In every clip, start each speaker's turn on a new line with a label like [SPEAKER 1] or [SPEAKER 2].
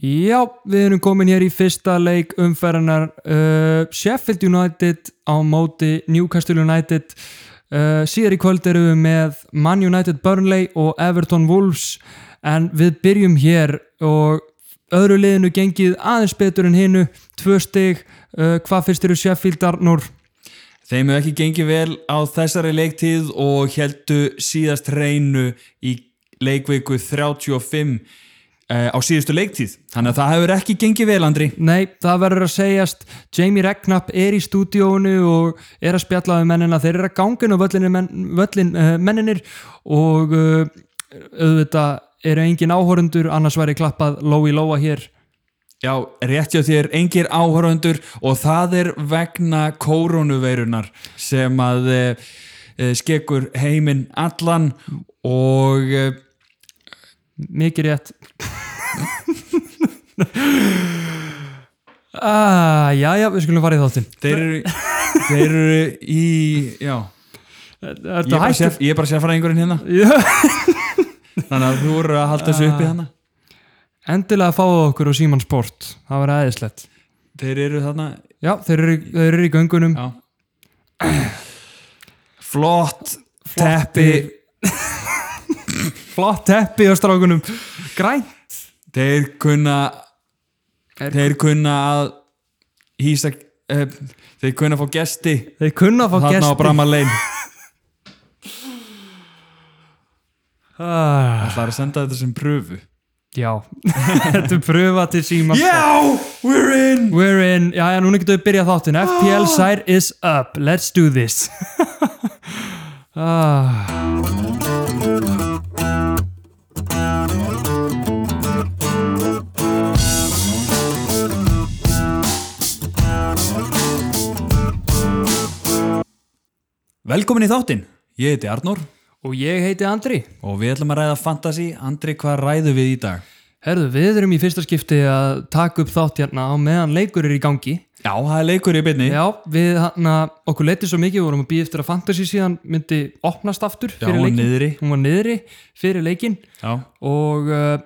[SPEAKER 1] Já, við erum komin hér í fyrsta leik umferðanar uh, Sheffield United á móti Newcastle United uh, síðar í kvöld erum við með Man United Burnley og Everton Wolves en við byrjum hér og öðru liðinu gengið aðeins betur en hinnu, tvö stig uh, hvað fyrst eru Sheffield Arnur
[SPEAKER 2] Þeim hefur ekki gengið vel á þessari leiktíð og heldu síðast reynu í leikveiku 35 eh, á síðustu leiktíð. Þannig að það hefur ekki gengið vel, Andri.
[SPEAKER 1] Nei, það verður að segjast Jamie Regnapp er í stúdíónu og er að spjalla við mennina þeir eru að gangin og völlin, er menn, völlin uh, menninir og uh, auðvitað eru engin áhorundur annars væri klappað lói lóa hér
[SPEAKER 2] Já, rétt hjá þér, engir áhöröndur og það er vegna kórónuveirunar sem að e, skekur heiminn allan og e,
[SPEAKER 1] mikið rétt ah, Já, já, við skulum fara í þáttin
[SPEAKER 2] þeir eru, þeir eru í, já, ég er,
[SPEAKER 1] Þetta
[SPEAKER 2] bara
[SPEAKER 1] hættur
[SPEAKER 2] sér, ég er bara sérfræðingurinn hérna,
[SPEAKER 1] Já.
[SPEAKER 2] þannig að þú eru að halda þessu uppi hérna. hana.
[SPEAKER 1] Endilega fáðu okkur á Síman Sport það var aðeinslegt
[SPEAKER 2] Þeir eru þarna
[SPEAKER 1] Já, þeir eru, þeir eru í göngunum
[SPEAKER 2] Já Flott
[SPEAKER 1] teppi. Flott teppi á strákunum Grænt
[SPEAKER 2] Þeir kunna
[SPEAKER 1] Er-
[SPEAKER 2] Þeir kunna að hýsa uh, Þeir kunna að fá gesti
[SPEAKER 1] Þeir kunna að fá
[SPEAKER 2] Þarna á
[SPEAKER 1] gesti
[SPEAKER 2] Bramar Lane
[SPEAKER 1] ah,
[SPEAKER 2] Það er að senda þetta sem pröfu
[SPEAKER 1] Já, þetta er pröfa til síma
[SPEAKER 2] Yeah, we're in
[SPEAKER 1] We're in, já, já, núna getum við byrjað þáttin FPL side is up, let's do this ah.
[SPEAKER 2] Velkomin í þáttinn Ég heiti Arnór
[SPEAKER 1] Og ég heiti Andri
[SPEAKER 2] og við ætlum að ræða fantasy Andri, hvað ræðu við í dag?
[SPEAKER 1] Herðu, við erum í fyrsta skipti að taka upp þátt hérna á meðan leikur er í gangi
[SPEAKER 2] Já, það er leikur í byrni
[SPEAKER 1] Já, við hann okkur leytið svo mikið, við vorum að býja eftir að fantasy síðan myndi opnast aftur
[SPEAKER 2] Já, hún var niðri.
[SPEAKER 1] Hún var niðri fyrir leikin
[SPEAKER 2] Já,
[SPEAKER 1] og uh,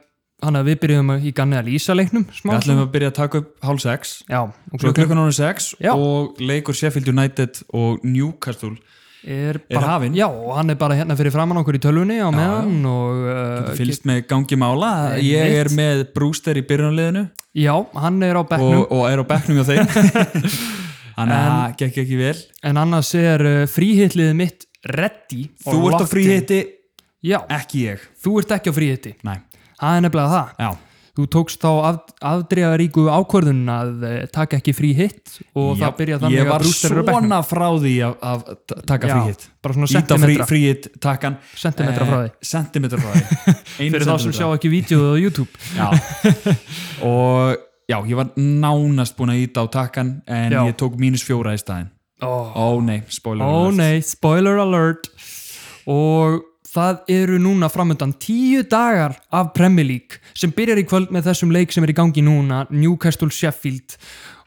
[SPEAKER 1] hann að við byrjuðum að- í ganni að lýsa leiknum smá.
[SPEAKER 2] við ætlum að byrja að taka upp hálf sex
[SPEAKER 1] Já, og
[SPEAKER 2] Svo er
[SPEAKER 1] klukkan
[SPEAKER 2] klukkan ánum sex
[SPEAKER 1] Já.
[SPEAKER 2] og leikur Sheffield United og Newcastle
[SPEAKER 1] er
[SPEAKER 2] er
[SPEAKER 1] bara
[SPEAKER 2] hafin.
[SPEAKER 1] Já, og hann er bara hérna fyrir framann okkur í tölvunni á meðan og uh,
[SPEAKER 2] fylgst með gangi mála ég er með Brewster í byrjunarliðinu
[SPEAKER 1] já, hann er á bekknum
[SPEAKER 2] og, og er á bekknum hjá þeim þannig að það gekk ekki vel
[SPEAKER 1] en annars er uh, fríhitlið mitt ready
[SPEAKER 2] þú
[SPEAKER 1] og
[SPEAKER 2] ert á
[SPEAKER 1] locked in.
[SPEAKER 2] fríhitti,
[SPEAKER 1] Já,
[SPEAKER 2] ekki ég
[SPEAKER 1] þú ert ekki á fríhiti
[SPEAKER 2] Nei.
[SPEAKER 1] Það er nefnilega það
[SPEAKER 2] Já.
[SPEAKER 1] Þú tókst þá af, afdregaríku ákvörðun að uh, taka ekki fríhitt og
[SPEAKER 2] Já,
[SPEAKER 1] það byrja þannig
[SPEAKER 2] ég
[SPEAKER 1] að
[SPEAKER 2] var
[SPEAKER 1] brústur eru á bekknum
[SPEAKER 2] svona frá því að, að ta- taka
[SPEAKER 1] Já,
[SPEAKER 2] fríhitt
[SPEAKER 1] bara svona
[SPEAKER 2] íta frí,
[SPEAKER 1] sentimetra.
[SPEAKER 2] fríhitt takkan Eh,
[SPEAKER 1] Sentimetra frá því.
[SPEAKER 2] sentimetra frá því Einu
[SPEAKER 1] fyrir þá sem
[SPEAKER 2] sentimetra.
[SPEAKER 1] sjá ekki vídeoðu á YouTube
[SPEAKER 2] Já. og já, ég var nánast búin að íta á takkan en
[SPEAKER 1] Já.
[SPEAKER 2] ég tók mínus fjóra í staðin
[SPEAKER 1] oh.
[SPEAKER 2] ó nei, spoiler
[SPEAKER 1] Ó
[SPEAKER 2] alert.
[SPEAKER 1] nei, spoiler alert og það eru núna framöndan tíu dagar af Premier League sem byrjar í kvöld með þessum leik sem er í gangi núna Newcastle Sheffield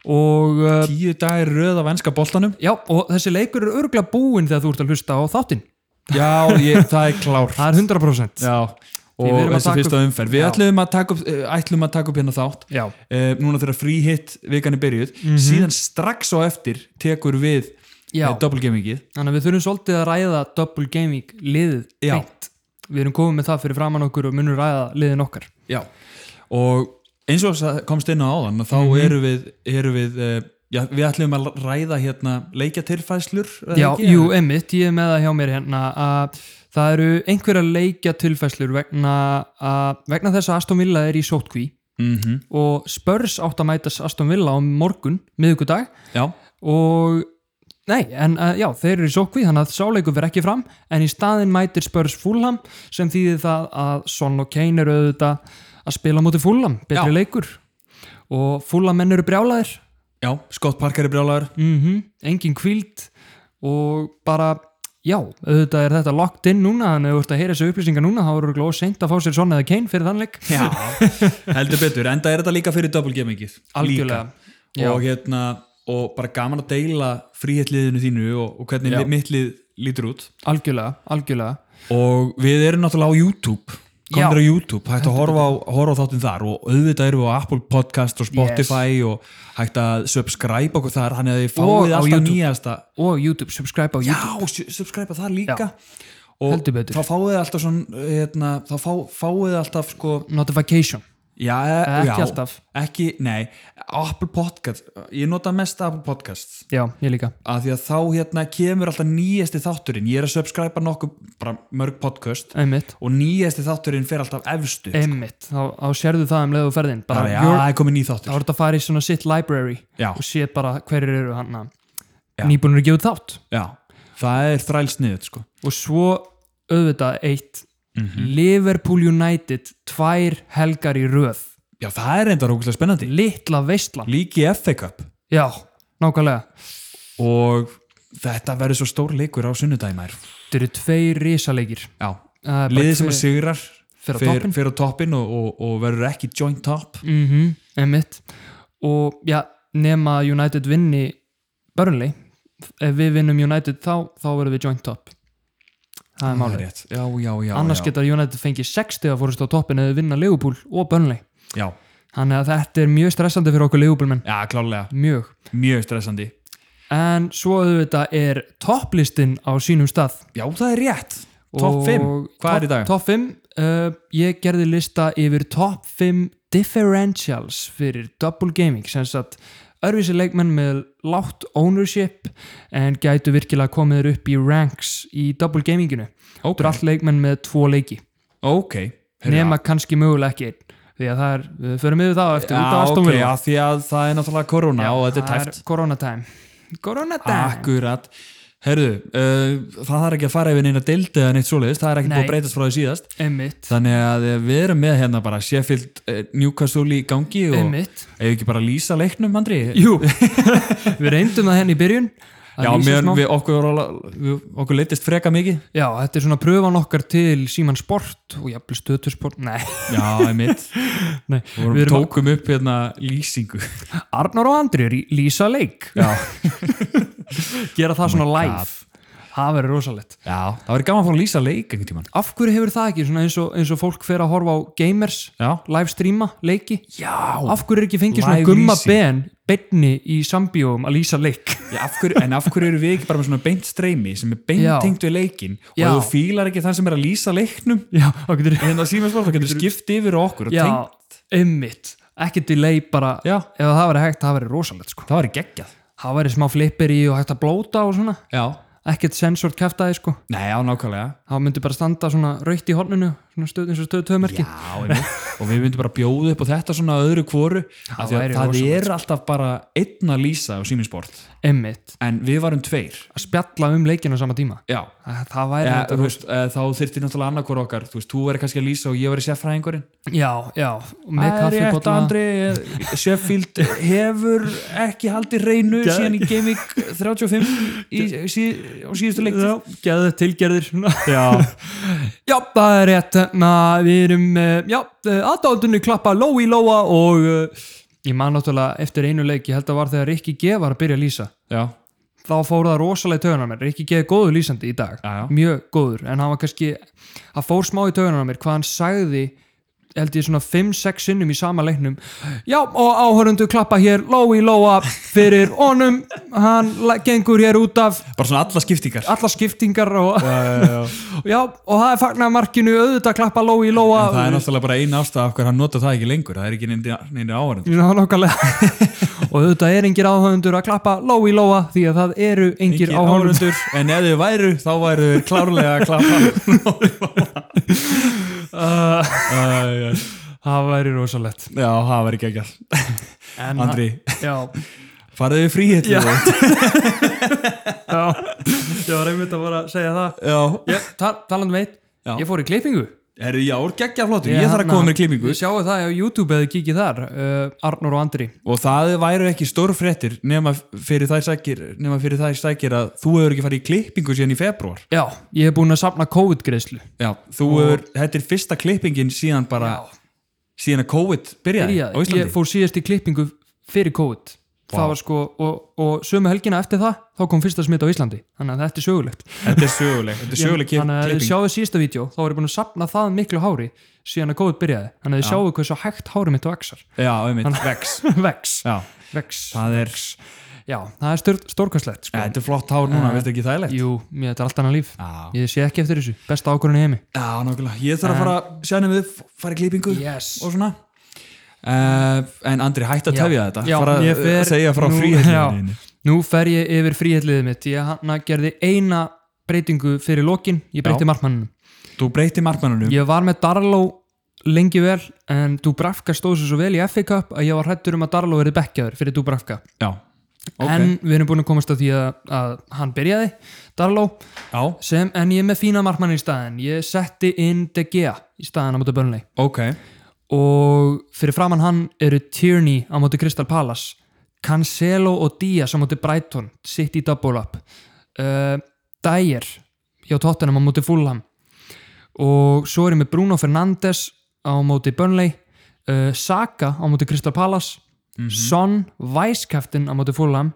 [SPEAKER 1] og uh,
[SPEAKER 2] tíu dagir röð af enska boltanum
[SPEAKER 1] já, og þessi leikur eru örgla búinn þegar þú ert að hlusta á þáttinn
[SPEAKER 2] Já, ég, það er klár
[SPEAKER 1] það er 100%
[SPEAKER 2] Já,
[SPEAKER 1] Því við
[SPEAKER 2] og
[SPEAKER 1] erum að
[SPEAKER 2] þessi
[SPEAKER 1] taka upp-
[SPEAKER 2] fyrsta umferð Við
[SPEAKER 1] Já.
[SPEAKER 2] ætlum að taka upp, eh, ætlum að taka upp hérna þátt
[SPEAKER 1] Já.
[SPEAKER 2] Eh, Núna þegar frí hit vikan er byrjuð Síðan strax á eftir tekur við
[SPEAKER 1] Mhm. Já.
[SPEAKER 2] uh, Double gamingið
[SPEAKER 1] þannig að við þurfum svolítið að ræða Double Gaming liðið
[SPEAKER 2] Já.
[SPEAKER 1] beint við erum komið með það fyrir framann okkur og munum ræða liðin okkar
[SPEAKER 2] Já. Og eins og það komst inn á áðan Þá
[SPEAKER 1] Mhm.
[SPEAKER 2] mm erum við, erum við uh, já, Við ætlum að ræða hérna leikjatilfæslur eða
[SPEAKER 1] Já,
[SPEAKER 2] ekki?
[SPEAKER 1] jú, emitt, ég er með það hjá mér hérna að það eru einhverja leikja tilfæslur vegna, að, vegna þess að Aston Villa er í sótkví
[SPEAKER 2] Mhm.
[SPEAKER 1] og spörs átt að mætast Aston Villa á morgun, miðugudag
[SPEAKER 2] já.
[SPEAKER 1] og nei, en uh, já, þeir eru í sótkví þannig að sáleikur verð ekki fram en í staðin mætir spörs Fulham sem þýðir það að Son og Kane eru auðvitað að spila á móti Fulham, betri
[SPEAKER 2] Já.
[SPEAKER 1] leikur og Fulham menn eru brjálaðir
[SPEAKER 2] já, Scott Parker er brjálagur
[SPEAKER 1] mm engin kvíld og bara, já, auðvitað er þetta locked in núna, en ef þú ert að heyra þessu upplýsingar núna, þá eru glóð seint að fá sér svona eða keinn fyrir þannleik,
[SPEAKER 2] Já, heldur betur, enda er þetta líka fyrir double gamingið
[SPEAKER 1] algjörlega Já.
[SPEAKER 2] og hérna og bara gaman að deila fríhetliðinu þínu og, og hvernig
[SPEAKER 1] Já.
[SPEAKER 2] li, mittlið lítur út
[SPEAKER 1] algjörlega, algjörlega
[SPEAKER 2] og við erum náttúrulega á YouTube komið
[SPEAKER 1] Já.
[SPEAKER 2] á YouTube, hægt að horfa á, horfa á þáttum þar og auðvitað erum við á Apple Podcast og Spotify og hægt að subscribe okkur þar, þannig að þið
[SPEAKER 1] Og á
[SPEAKER 2] fáið alltaf
[SPEAKER 1] YouTube.
[SPEAKER 2] nýjasta
[SPEAKER 1] og YouTube, subscribe á YouTube
[SPEAKER 2] Já, su- subscribe þar líka og
[SPEAKER 1] Heldur betur.
[SPEAKER 2] þá fáið þið alltaf svona, hérna, þá fá, fáið þið alltaf sko,
[SPEAKER 1] notification
[SPEAKER 2] já, e,
[SPEAKER 1] Ekki
[SPEAKER 2] já,
[SPEAKER 1] alltaf.
[SPEAKER 2] ekki, nei, Apple Podcast ég nota mest Apple Podcast
[SPEAKER 1] já, ég líka
[SPEAKER 2] að því að þá hérna kemur alltaf nýjasti þátturinn, ég er að subscriba nokkuð, bara mörg podcast
[SPEAKER 1] einmitt,
[SPEAKER 2] og nýjasti þátturinn fer alltaf efstu
[SPEAKER 1] einmitt, þá, þá sérðu það um leiðu ferðin bara,
[SPEAKER 2] bara, já,
[SPEAKER 1] your-
[SPEAKER 2] það er komið ný
[SPEAKER 1] þá
[SPEAKER 2] þáttur
[SPEAKER 1] er þetta að fara í svona sitt library
[SPEAKER 2] Já.
[SPEAKER 1] og sé bara hverjir eru hann
[SPEAKER 2] Já.
[SPEAKER 1] nýbúinur að gefa út þátt
[SPEAKER 2] já, það er þrælsniðið sko
[SPEAKER 1] og svo auðvitað eitt
[SPEAKER 2] Mhm.
[SPEAKER 1] Liverpool United tvær helgar í röð
[SPEAKER 2] já, það er enda rókulega spennandi
[SPEAKER 1] litla veistlan
[SPEAKER 2] líki FA Cup
[SPEAKER 1] já, nákvæmlega
[SPEAKER 2] og þetta verður svo stór leikur á sunnudæmær
[SPEAKER 1] þetta eru tveir risaleikir
[SPEAKER 2] já,
[SPEAKER 1] Það er bara
[SPEAKER 2] liðið sem
[SPEAKER 1] tveir-
[SPEAKER 2] að sigrar
[SPEAKER 1] fer á toppinn.
[SPEAKER 2] fer á toppin og, og, og verður ekki joint top
[SPEAKER 1] Mhm, einmitt og já, nema að United vinni Burnley ef við vinnum United þá, þá verðum við joint top það er
[SPEAKER 2] Það er
[SPEAKER 1] málið
[SPEAKER 2] rétt. já, já, já,
[SPEAKER 1] annars
[SPEAKER 2] já.
[SPEAKER 1] geta United fengið 60 að fórust á toppin eða vinna Liverpool og Burnley
[SPEAKER 2] já,
[SPEAKER 1] þannig að þetta er mjög stressandi fyrir okkur Liverpool menn,
[SPEAKER 2] já, klálega,
[SPEAKER 1] mjög
[SPEAKER 2] mjög stressandi
[SPEAKER 1] en svo auðvitað er topplistinn á sínum stað
[SPEAKER 2] já, það er rétt, top
[SPEAKER 1] Og
[SPEAKER 2] 5 hvað er í
[SPEAKER 1] topp-
[SPEAKER 2] dag?
[SPEAKER 1] Topp 5, uh, ég gerði lista yfir top 5 differentials fyrir double gaming sem sagt örvísi leikmenn með látt ownership en gætu virkilega komið þér upp í ranks í double gaminginu Þetta eru
[SPEAKER 2] ok,
[SPEAKER 1] allt leikmenn með tvo leiki
[SPEAKER 2] ok Heyrðu,
[SPEAKER 1] nema kannski mögulega ekki einn því að það er, við förum yfir það á eftir út af
[SPEAKER 2] Já,
[SPEAKER 1] Aston
[SPEAKER 2] ok,
[SPEAKER 1] Villa
[SPEAKER 2] já, því að það er náttúrulega korona og þetta er
[SPEAKER 1] Það
[SPEAKER 2] tæft.
[SPEAKER 1] Corona time Corona time
[SPEAKER 2] Akkurat. Herðu, uh, það þarf ekki að fara yfir neina deildi eða neitt svoleiðis, það er ekki
[SPEAKER 1] Nei.
[SPEAKER 2] búið að breytast frá því síðast.
[SPEAKER 1] Einmitt,
[SPEAKER 2] Þannig að eh, við erum með hérna bara Sheffield uh, Newcastle í gangi og
[SPEAKER 1] einmitt
[SPEAKER 2] eigum ekki bara að lýsa leiknum, Andri?
[SPEAKER 1] Jú, við reyndum það henni í byrjun að
[SPEAKER 2] Já,
[SPEAKER 1] lýsa
[SPEAKER 2] mér,
[SPEAKER 1] smá.
[SPEAKER 2] við, okkur, var alveg- við, okkur leittist freka mikið.
[SPEAKER 1] Já, þetta er svona pröfan okkar til síman sport og jafnvel stöðtursport, nei,
[SPEAKER 2] Já, einmitt.
[SPEAKER 1] nei.
[SPEAKER 2] Við vorum-
[SPEAKER 1] Við erum-
[SPEAKER 2] tókum upp hérna lýsingu.
[SPEAKER 1] Arnar og Andri er í Lísa leik
[SPEAKER 2] Já, Oh
[SPEAKER 1] gera það svona
[SPEAKER 2] my
[SPEAKER 1] live það verður rosalegt
[SPEAKER 2] Já það verður gaman að fá að lýsa leik einhvern tíman.
[SPEAKER 1] Af hverju hefur það ekki, svona eins og, eins og fólk fer að horfa á gamers,
[SPEAKER 2] Já.
[SPEAKER 1] live streama, leiki
[SPEAKER 2] Já.
[SPEAKER 1] Af hverju er ekki fengið svona
[SPEAKER 2] Live
[SPEAKER 1] gumma
[SPEAKER 2] lýsing.
[SPEAKER 1] ben benni í sambjóum að lýsa leik
[SPEAKER 2] Já, af hverju, en af hverju eru við ekki bara með svona beint streymi sem er beint
[SPEAKER 1] Já.
[SPEAKER 2] tengdu í leikin og
[SPEAKER 1] Já.
[SPEAKER 2] ef þú fílar ekki þann sem er að lýsa leiknum
[SPEAKER 1] Já, þá getur
[SPEAKER 2] hérna síma sport, þá getur skipt yfir á okkur og
[SPEAKER 1] Já,
[SPEAKER 2] tengt,
[SPEAKER 1] einmitt, ekki delay bara
[SPEAKER 2] Já.
[SPEAKER 1] ef það verður hægt, það verður rosalegt sko
[SPEAKER 2] það var í geggjað
[SPEAKER 1] Það verður smá flippir í og hægt að blóta og svona
[SPEAKER 2] Já,
[SPEAKER 1] ekkert sensort kæftæði sko
[SPEAKER 2] nei, já, nákvæmlega
[SPEAKER 1] þá myndi bara standa svona raukt í horninu svona stöð, eins og stöðu töðmerki
[SPEAKER 2] Já, einmitt. og við myndum bara bjóða upp á þetta svona öðru kvoru, af því að
[SPEAKER 1] væri
[SPEAKER 2] það
[SPEAKER 1] rosalegt,
[SPEAKER 2] er alltaf bara einn að lýsa á sími sport
[SPEAKER 1] emmitt,
[SPEAKER 2] en við varum tveir
[SPEAKER 1] að spjalla um leikinu á sama tíma
[SPEAKER 2] Já,
[SPEAKER 1] það, það væri
[SPEAKER 2] ja,
[SPEAKER 1] þetta
[SPEAKER 2] þú veist, eh, þá þyrfti náttúrulega annað hvora okkar, þú veist, þú verður kannski að lýsa og ég verður sérfræðingurinn
[SPEAKER 1] já, já, og með
[SPEAKER 2] Það er rétt,
[SPEAKER 1] kaffibotla
[SPEAKER 2] Andri, eh, Sheffield hefur ekki haldið reynu
[SPEAKER 1] Gæ-
[SPEAKER 2] síðan í Gaming 35 í, sí, á síðustu leikt
[SPEAKER 1] já, geðu tilgerðir svona.
[SPEAKER 2] Já,
[SPEAKER 1] já, það er rétt na, við erum, eh, já, aðdáðunni klappa lói lóa og eh, ég man náttúrulega eftir einu leik ég held að var þegar Rikki G var að byrja að lýsa
[SPEAKER 2] já,
[SPEAKER 1] þá fór það rosalega í taugunar mér Rikki G er góður lýsandi í dag
[SPEAKER 2] Já, já.
[SPEAKER 1] mjög góður, en hann var kannski hann fór smá í taugunar mér hvað hann sagði held ég svona 5-6 sinnum í sama leiknum já og áhörundu klappa hér lói lóa fyrir honum hann la- gengur hér út af
[SPEAKER 2] bara svona alla skiptingar
[SPEAKER 1] alla skiptingar og
[SPEAKER 2] já, já, já.
[SPEAKER 1] já og það er fagnað markinu auðvitað klappa lói lóa
[SPEAKER 2] Það er náttúrulega bara eina ástæða af hver hann nota það ekki lengur, það er ekki neina áhverjum
[SPEAKER 1] Já, nákvæmlega. og auðvitað er engir áhörundur að klappa lói lóa því að það eru engir, engir áhörundur
[SPEAKER 2] en ef þau væru, þá væru þau klárlega að klappa Æ, æ, æ.
[SPEAKER 1] það væri rosalegt
[SPEAKER 2] Já, það væri ekki ekki
[SPEAKER 1] en,
[SPEAKER 2] Andri,
[SPEAKER 1] já,
[SPEAKER 2] farðu við fríhitt
[SPEAKER 1] Já. já, ég var einmitt að bara segja það
[SPEAKER 2] já,
[SPEAKER 1] Ég, tal talandum eitt,
[SPEAKER 2] Já.
[SPEAKER 1] ég fór í klippingu
[SPEAKER 2] Herri, já, geggja flottur, ég þarf að koma mér í klippingu
[SPEAKER 1] Ég sjáu það á YouTube eða kikið þar uh, Arnur og Andri
[SPEAKER 2] og það væru ekki stór fréttir nema fyrir þær sækir, nema fyrir þær sækir að þú hefur ekki farið í klippingu síðan í februar
[SPEAKER 1] Já, ég hef búin að safna COVID-greiðslu
[SPEAKER 2] já, þú hefur, þetta er fyrsta klippingin síðan bara, síðan að COVID byrjaði á
[SPEAKER 1] Byrjaði,
[SPEAKER 2] Íslandi
[SPEAKER 1] Ég fór síðast í klippingu fyrir COVID
[SPEAKER 2] Vá.
[SPEAKER 1] Það var sko, og, og sömu helgina eftir það þá kom fyrsta smitt á Íslandi þannig að þetta er sögulegt
[SPEAKER 2] þetta er söguleg, þetta er söguleg
[SPEAKER 1] Þannig að
[SPEAKER 2] klipping
[SPEAKER 1] sjáðu síðasta vídeo, þá var ég búin að safna það miklu hári síðan að COVID byrjaði þannig að þið sjáu hversu hægt hárum mitt og axar
[SPEAKER 2] já, einmitt, vex
[SPEAKER 1] vex,
[SPEAKER 2] já,
[SPEAKER 1] vex
[SPEAKER 2] það er,
[SPEAKER 1] já, það er stjórn, stórkvæslegt sko.
[SPEAKER 2] þetta er flott hár núna,
[SPEAKER 1] Eh,
[SPEAKER 2] veistu ekki þægilegt
[SPEAKER 1] jú, mér, þetta er allt annað líf
[SPEAKER 2] já,
[SPEAKER 1] ég sé ekki eftir þessu, besta ákvörðin í heimi
[SPEAKER 2] já, nákvæmlega ég þarf að fara að sjá henni við, fara í klípingu
[SPEAKER 1] yes
[SPEAKER 2] og svona uh, en Andri, hætt að
[SPEAKER 1] Já.
[SPEAKER 2] tefja þetta
[SPEAKER 1] Já,
[SPEAKER 2] fara
[SPEAKER 1] ég
[SPEAKER 2] að
[SPEAKER 1] fer
[SPEAKER 2] segja frá
[SPEAKER 1] nú-
[SPEAKER 2] fríhættinni
[SPEAKER 1] nú fer ég yfir fríhælliðið mitt ég hann gerði eina breytingu fyrir lokin, ég breyti markmanninu
[SPEAKER 2] þú breyti markmannunum
[SPEAKER 1] ég var með Darlow lengi vel en Dubravka stóð sér svo vel í FA Cup að ég var hrættur um að Darlow verið bekkjaður fyrir Dubravka
[SPEAKER 2] já, ok,
[SPEAKER 1] en við erum búin að komast að því að, að hann byrjaði Darlow
[SPEAKER 2] já,
[SPEAKER 1] sem, en ég er með fína markmann í staðin ég setti inn De Gea í staðin á móti Burnley
[SPEAKER 2] ok
[SPEAKER 1] og fyrir framann hann eru Tierney á móti Crystal Palace Cancelo og Díaz á móti Brighton sitt í double up uh, Dyer hjá Tottenham á móti Fulham og svo er ég með Bruno Fernandes á móti Burnley uh, Saka á móti Crystal Palace
[SPEAKER 2] Mhm.
[SPEAKER 1] Son, Vice Captain á móti Fulham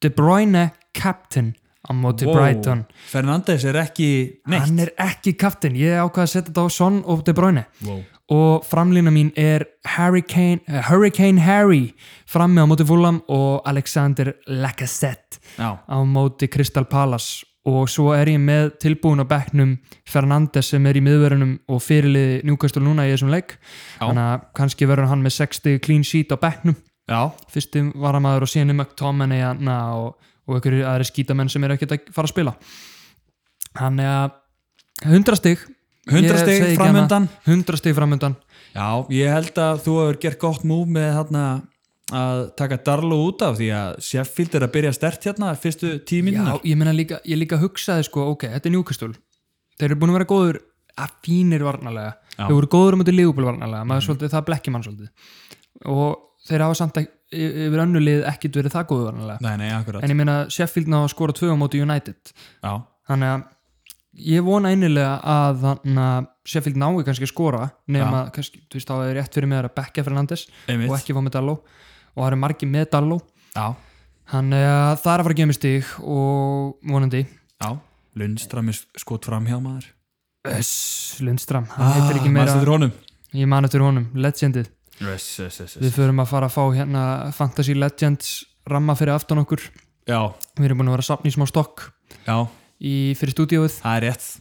[SPEAKER 1] De Bruyne, Captain á móti
[SPEAKER 2] Wow.
[SPEAKER 1] Brighton
[SPEAKER 2] Fernandes er ekki neitt
[SPEAKER 1] hann er ekki Captain, ég ákvað að setja þetta á Son og De Bruyne
[SPEAKER 2] wow.
[SPEAKER 1] og framlýna mín er Hurricane, eh, Hurricane Harry frammi á móti Fulham og Alexander Lacazette
[SPEAKER 2] já,
[SPEAKER 1] á móti Crystal Palace og svo er ég með tilbúin á bekknum Fernandes sem er í miðverunum og fyrirliði Newcastle núna í þessum leik
[SPEAKER 2] Já.
[SPEAKER 1] þannig að kannski verður hann með 60 clean sheet á bekknum
[SPEAKER 2] já,
[SPEAKER 1] fyrstum varamaður og síðan um er McTominay na, og, og einhverju aðri skítamenn sem eru ekkert að fara að spila þannig að 100 stig
[SPEAKER 2] 100
[SPEAKER 1] Ég
[SPEAKER 2] stig
[SPEAKER 1] segi ekki
[SPEAKER 2] framundan.
[SPEAKER 1] annað. 100 stig framöndan
[SPEAKER 2] Já, ég held að þú hefur gert gott múf með þarna að taka Darlo út af því að Sheffield er að byrja stert hérna fyrstu
[SPEAKER 1] Já,
[SPEAKER 2] tíminna
[SPEAKER 1] ég meina líka, ég líka hugsaði sko, ok, þetta er Newcastle þeir eru búin að vera góður að fínir varnalega,
[SPEAKER 2] Já. Mhm.
[SPEAKER 1] þeir voru góður um þetta lífbúl varnalega, maður svolítið, það blekki mann svolítið og þeir hafa samt ekki, yfir önnulið ekkit verið það góður varnalega,
[SPEAKER 2] Nei, nei, akkurat
[SPEAKER 1] en ég meina Sheffield ná að skora tvö á móti United,
[SPEAKER 2] Já,
[SPEAKER 1] þannig að ég vona einilega að þannig að Sheffield nái kannski að skora nema, kannski, þú veist, þá er rétt fyrir mér að bekka Fernandes og
[SPEAKER 2] einmitt
[SPEAKER 1] ekki fá með Dalló og það eru margir með Dalló
[SPEAKER 2] Já,
[SPEAKER 1] þannig að það er að fara að gefa mér stig og vonandi
[SPEAKER 2] já, Lundstram er skot fram hjá maður
[SPEAKER 1] Öss Lundstram, hann
[SPEAKER 2] Ah,
[SPEAKER 1] heitir ekki meira
[SPEAKER 2] Mæstur honum
[SPEAKER 1] ég man eftir honum, legendið
[SPEAKER 2] yes, yes, yes,
[SPEAKER 1] við
[SPEAKER 2] yes.
[SPEAKER 1] förum að fara að fá hérna Fantasy Legends ramma fyrir aftan okkur
[SPEAKER 2] Já,
[SPEAKER 1] við erum búin að vera að safna í smá stokk
[SPEAKER 2] já,
[SPEAKER 1] í, fyrir stúdíóið
[SPEAKER 2] það er rétt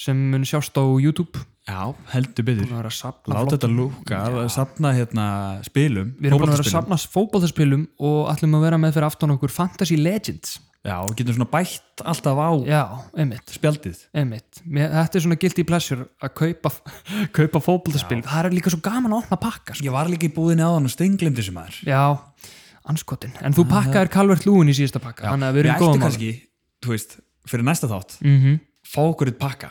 [SPEAKER 1] sem mun sjást á YouTube
[SPEAKER 2] Já, heldur byggður
[SPEAKER 1] búin að vera að safna
[SPEAKER 2] Láta
[SPEAKER 1] flott-
[SPEAKER 2] þetta lúka, safna hérna spilum
[SPEAKER 1] við erum búin að vera að
[SPEAKER 2] fótboltaspilum.
[SPEAKER 1] safna fótballtarspilum og ætlum að vera með fyrir aftan okkur Fantasy Legends
[SPEAKER 2] Já, við getum svona bætt alltaf á
[SPEAKER 1] já, einmitt
[SPEAKER 2] spjaldið
[SPEAKER 1] Einmitt. Mér, þetta er svona guilty pleasure að kaupa, kaupa fótboltaspil það er líka svo gaman að opna pakka sko.
[SPEAKER 2] Ég var líka í búðinni á hann og steinglimdi sem maður
[SPEAKER 1] já, anskotin en þú pakkaðir Calvert Lúin í síðasta pakka þannig að við erum góðum
[SPEAKER 2] ættum kannski, þú veist, fyrir næsta þátt
[SPEAKER 1] mm -hmm.
[SPEAKER 2] fá okkur eitt pakka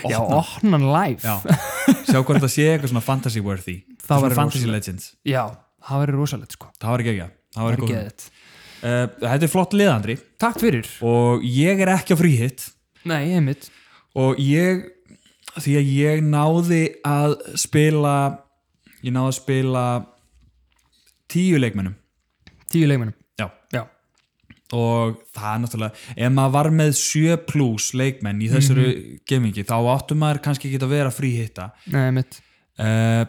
[SPEAKER 2] opna.
[SPEAKER 1] Já, opnan live
[SPEAKER 2] Já. sjá hvort það sé eitthvað svona fantasy worthy
[SPEAKER 1] Það
[SPEAKER 2] svona
[SPEAKER 1] væri
[SPEAKER 2] fantasy
[SPEAKER 1] rosalegt.
[SPEAKER 2] legends,
[SPEAKER 1] Já, það verður rosalegt sko
[SPEAKER 2] það var ekki ekki það
[SPEAKER 1] Það
[SPEAKER 2] var ekki
[SPEAKER 1] er
[SPEAKER 2] góð
[SPEAKER 1] geðið
[SPEAKER 2] uh, þetta er flott lið Andri
[SPEAKER 1] Takk fyrir
[SPEAKER 2] og ég er ekki á fríhitt
[SPEAKER 1] Nei, einmitt
[SPEAKER 2] og ég því að ég náði að spila ég náði að spila tíu leikmennum
[SPEAKER 1] Tíu leikmennum
[SPEAKER 2] já
[SPEAKER 1] Já
[SPEAKER 2] og það er náttúrulega ef maður var með 7 pluss leikmenn í þessari
[SPEAKER 1] Mhm.
[SPEAKER 2] gemingi þá áttum maður kannski ekki að vera fríhitta
[SPEAKER 1] Nei, einmitt
[SPEAKER 2] uh,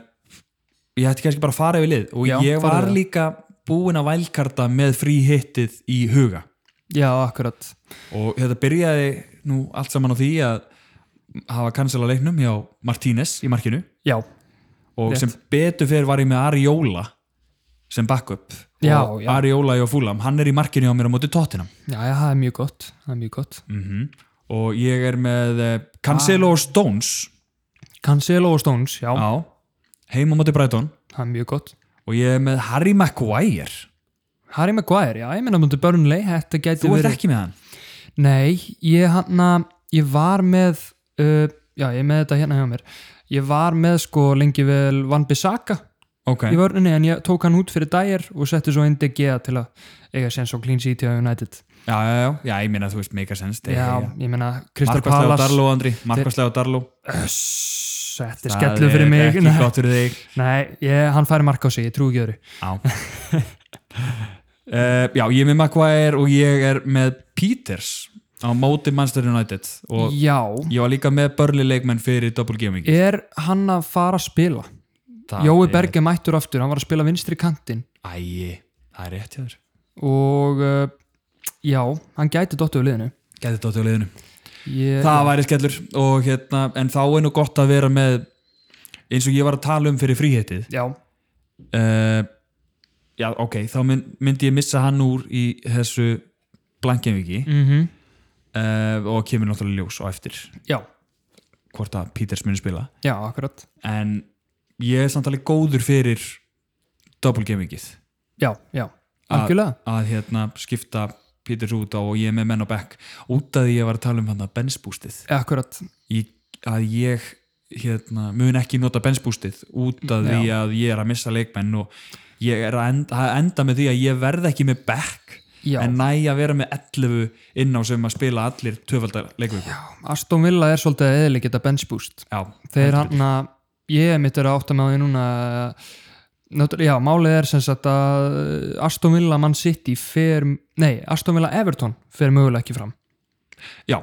[SPEAKER 2] ég ætti kannski bara að fara yfir lið og
[SPEAKER 1] Já,
[SPEAKER 2] ég
[SPEAKER 1] farðu
[SPEAKER 2] var
[SPEAKER 1] það.
[SPEAKER 2] líka búin að vælkarta með fríhittið í huga
[SPEAKER 1] Já, akkurat
[SPEAKER 2] og þetta byrjaði nú allt saman á því að hafa cancela leiknum hjá Martínez í markinu
[SPEAKER 1] Já
[SPEAKER 2] og
[SPEAKER 1] Rétt.
[SPEAKER 2] sem betur fyrir var ég með Ariola sem backup
[SPEAKER 1] Já,
[SPEAKER 2] og
[SPEAKER 1] já.
[SPEAKER 2] Ariola hjá Fúlam, hann er í markinu hjá mér á móti Tottenham
[SPEAKER 1] Já, já, það er mjög gott Það er mjög gott
[SPEAKER 2] Mhm. og ég er með eh, Cancelo og Stones
[SPEAKER 1] Cancelo og Stones, Ah. já,
[SPEAKER 2] á, heim á móti Brighton
[SPEAKER 1] það er mjög gott
[SPEAKER 2] og ég er með Harry Maguire
[SPEAKER 1] Harry Maguire, já, ég meina mútið Burnley Þetta gæti
[SPEAKER 2] þú ert
[SPEAKER 1] verið
[SPEAKER 2] ekki með hann
[SPEAKER 1] Nei, ég hann ég var með uh, Já, ég er með þetta hérna hjá mér Ég var með sko lengi vel Van Bissaka
[SPEAKER 2] okay.
[SPEAKER 1] í vörninni en ég tók hann út fyrir dæjar og setti svo inn DG til að eiga sér svo clean sheet hjá United
[SPEAKER 2] já, já, já, já, ég meina þú veist mega sens
[SPEAKER 1] Já, ég meina Kristal
[SPEAKER 2] Markvarslega og
[SPEAKER 1] Palace
[SPEAKER 2] Darló, Andri Markvarslega og Darló
[SPEAKER 1] Öss, Þetta er
[SPEAKER 2] Það
[SPEAKER 1] skellu fyrir
[SPEAKER 2] er
[SPEAKER 1] mig
[SPEAKER 2] ekki
[SPEAKER 1] Nei,
[SPEAKER 2] gott fyrir þig
[SPEAKER 1] Nei, ég, hann færi mark á sig, ég trú ekki öðru
[SPEAKER 2] já. Eh, uh, já, ég er með Maguire og ég er með Peters á móti Manchester United og
[SPEAKER 1] Já,
[SPEAKER 2] ég var líka með börli leikmenn fyrir double gaming
[SPEAKER 1] er hann að fara að spila?
[SPEAKER 2] Það
[SPEAKER 1] Jói
[SPEAKER 2] er-
[SPEAKER 1] Berge mættur aftur, hann var að spila vinstri kantinn
[SPEAKER 2] Æi, það er rétt hjá þér
[SPEAKER 1] og uh, já, hann gæti dottu við liðinu
[SPEAKER 2] Gæti þetta á liðinu
[SPEAKER 1] Ég,
[SPEAKER 2] Það væri skellur og hérna en þá er nú gott að vera með eins og ég var að tala um fyrir fríhetið
[SPEAKER 1] Já,
[SPEAKER 2] uh, Já, ok, þá mynd, myndi ég missa hann úr í þessu blankjaviki
[SPEAKER 1] mm
[SPEAKER 2] uh, og kemur náttúrulega ljós á eftir
[SPEAKER 1] já,
[SPEAKER 2] hvort að Peters muni spila
[SPEAKER 1] já, akkurat
[SPEAKER 2] en ég er samt alveg góður fyrir double gamingið
[SPEAKER 1] Já, já, algjörlega
[SPEAKER 2] að hérna skipta Peters út á og ég er með menn á back út að ég var að tala um hann að bensbústið
[SPEAKER 1] Akkurat,
[SPEAKER 2] ég, að ég hérna, mun ekki nota bensbústið út að
[SPEAKER 1] Já.
[SPEAKER 2] því að ég er að missa leikmenn og ég er að enda, að enda með því að ég verð ekki með back
[SPEAKER 1] já
[SPEAKER 2] en næ að vera með 11 inn á sem að spila allir töfaldar leikveiku já,
[SPEAKER 1] Aston Villa er svolítið að eðileg geta bench boost þeir
[SPEAKER 2] heldur
[SPEAKER 1] hann að ég mitt er að átta með á því núna Náttúrulega, já, málið er sem sagt að Aston Villa Man City fer, nei, Aston Villa Everton fer mögulega ekki fram
[SPEAKER 2] Já,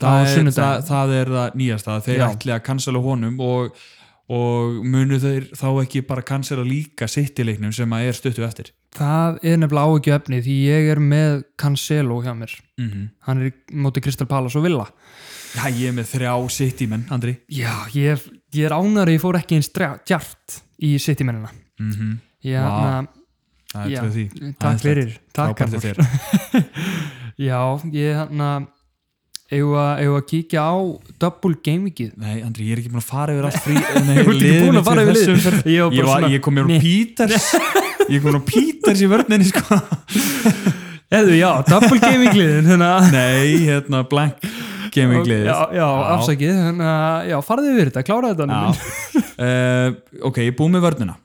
[SPEAKER 1] Á
[SPEAKER 2] það er,
[SPEAKER 1] sunnudaginn.
[SPEAKER 2] það, það er það nýjasta þeir
[SPEAKER 1] Já.
[SPEAKER 2] ætli að cancela honum og, og munu þeir þá ekki bara cancela líka sittileiknum sem að er stuttu eftir
[SPEAKER 1] Það er nefnilega áhyggju efni því ég er með Cancelo hjá mér
[SPEAKER 2] mm -hmm.
[SPEAKER 1] hann er í móti Crystal Palace og Villa
[SPEAKER 2] Já, ég er með þrjá sittimenn, Andri
[SPEAKER 1] Já, ég er, ég er ánari ég fór ekki eins drjá- djart í City-mennina
[SPEAKER 2] mm -hmm.
[SPEAKER 1] Já,
[SPEAKER 2] Vá,
[SPEAKER 1] na,
[SPEAKER 2] Það
[SPEAKER 1] já,
[SPEAKER 2] er tvö því
[SPEAKER 1] Takk fyrir, takk
[SPEAKER 2] Frábært
[SPEAKER 1] Arnór.
[SPEAKER 2] þér
[SPEAKER 1] Já, ég hann að eigum að- eigum að kíkja á double gamingið
[SPEAKER 2] Nei, Andri, ég er ekki búin að fara yfir allt frí Nei,
[SPEAKER 1] Þú ert ekki
[SPEAKER 2] liðin
[SPEAKER 1] búin að
[SPEAKER 2] til
[SPEAKER 1] fara yfir
[SPEAKER 2] þessu
[SPEAKER 1] liðin.
[SPEAKER 2] umferð.
[SPEAKER 1] Ég var bara
[SPEAKER 2] Ég var-
[SPEAKER 1] svona,
[SPEAKER 2] ég kom mér á
[SPEAKER 1] nei.
[SPEAKER 2] Píters Ég kom mér á Píters í vörninni sko.
[SPEAKER 1] Eðu, já, double gamingliðin hérna.
[SPEAKER 2] Nei, hérna, blank gaming liðið
[SPEAKER 1] Já, já, afsakið hérna, Já, farðu yfir þetta, kláraðu þetta
[SPEAKER 2] Já.
[SPEAKER 1] Anna mín.
[SPEAKER 2] Eh, ok, ég er búið með vörnina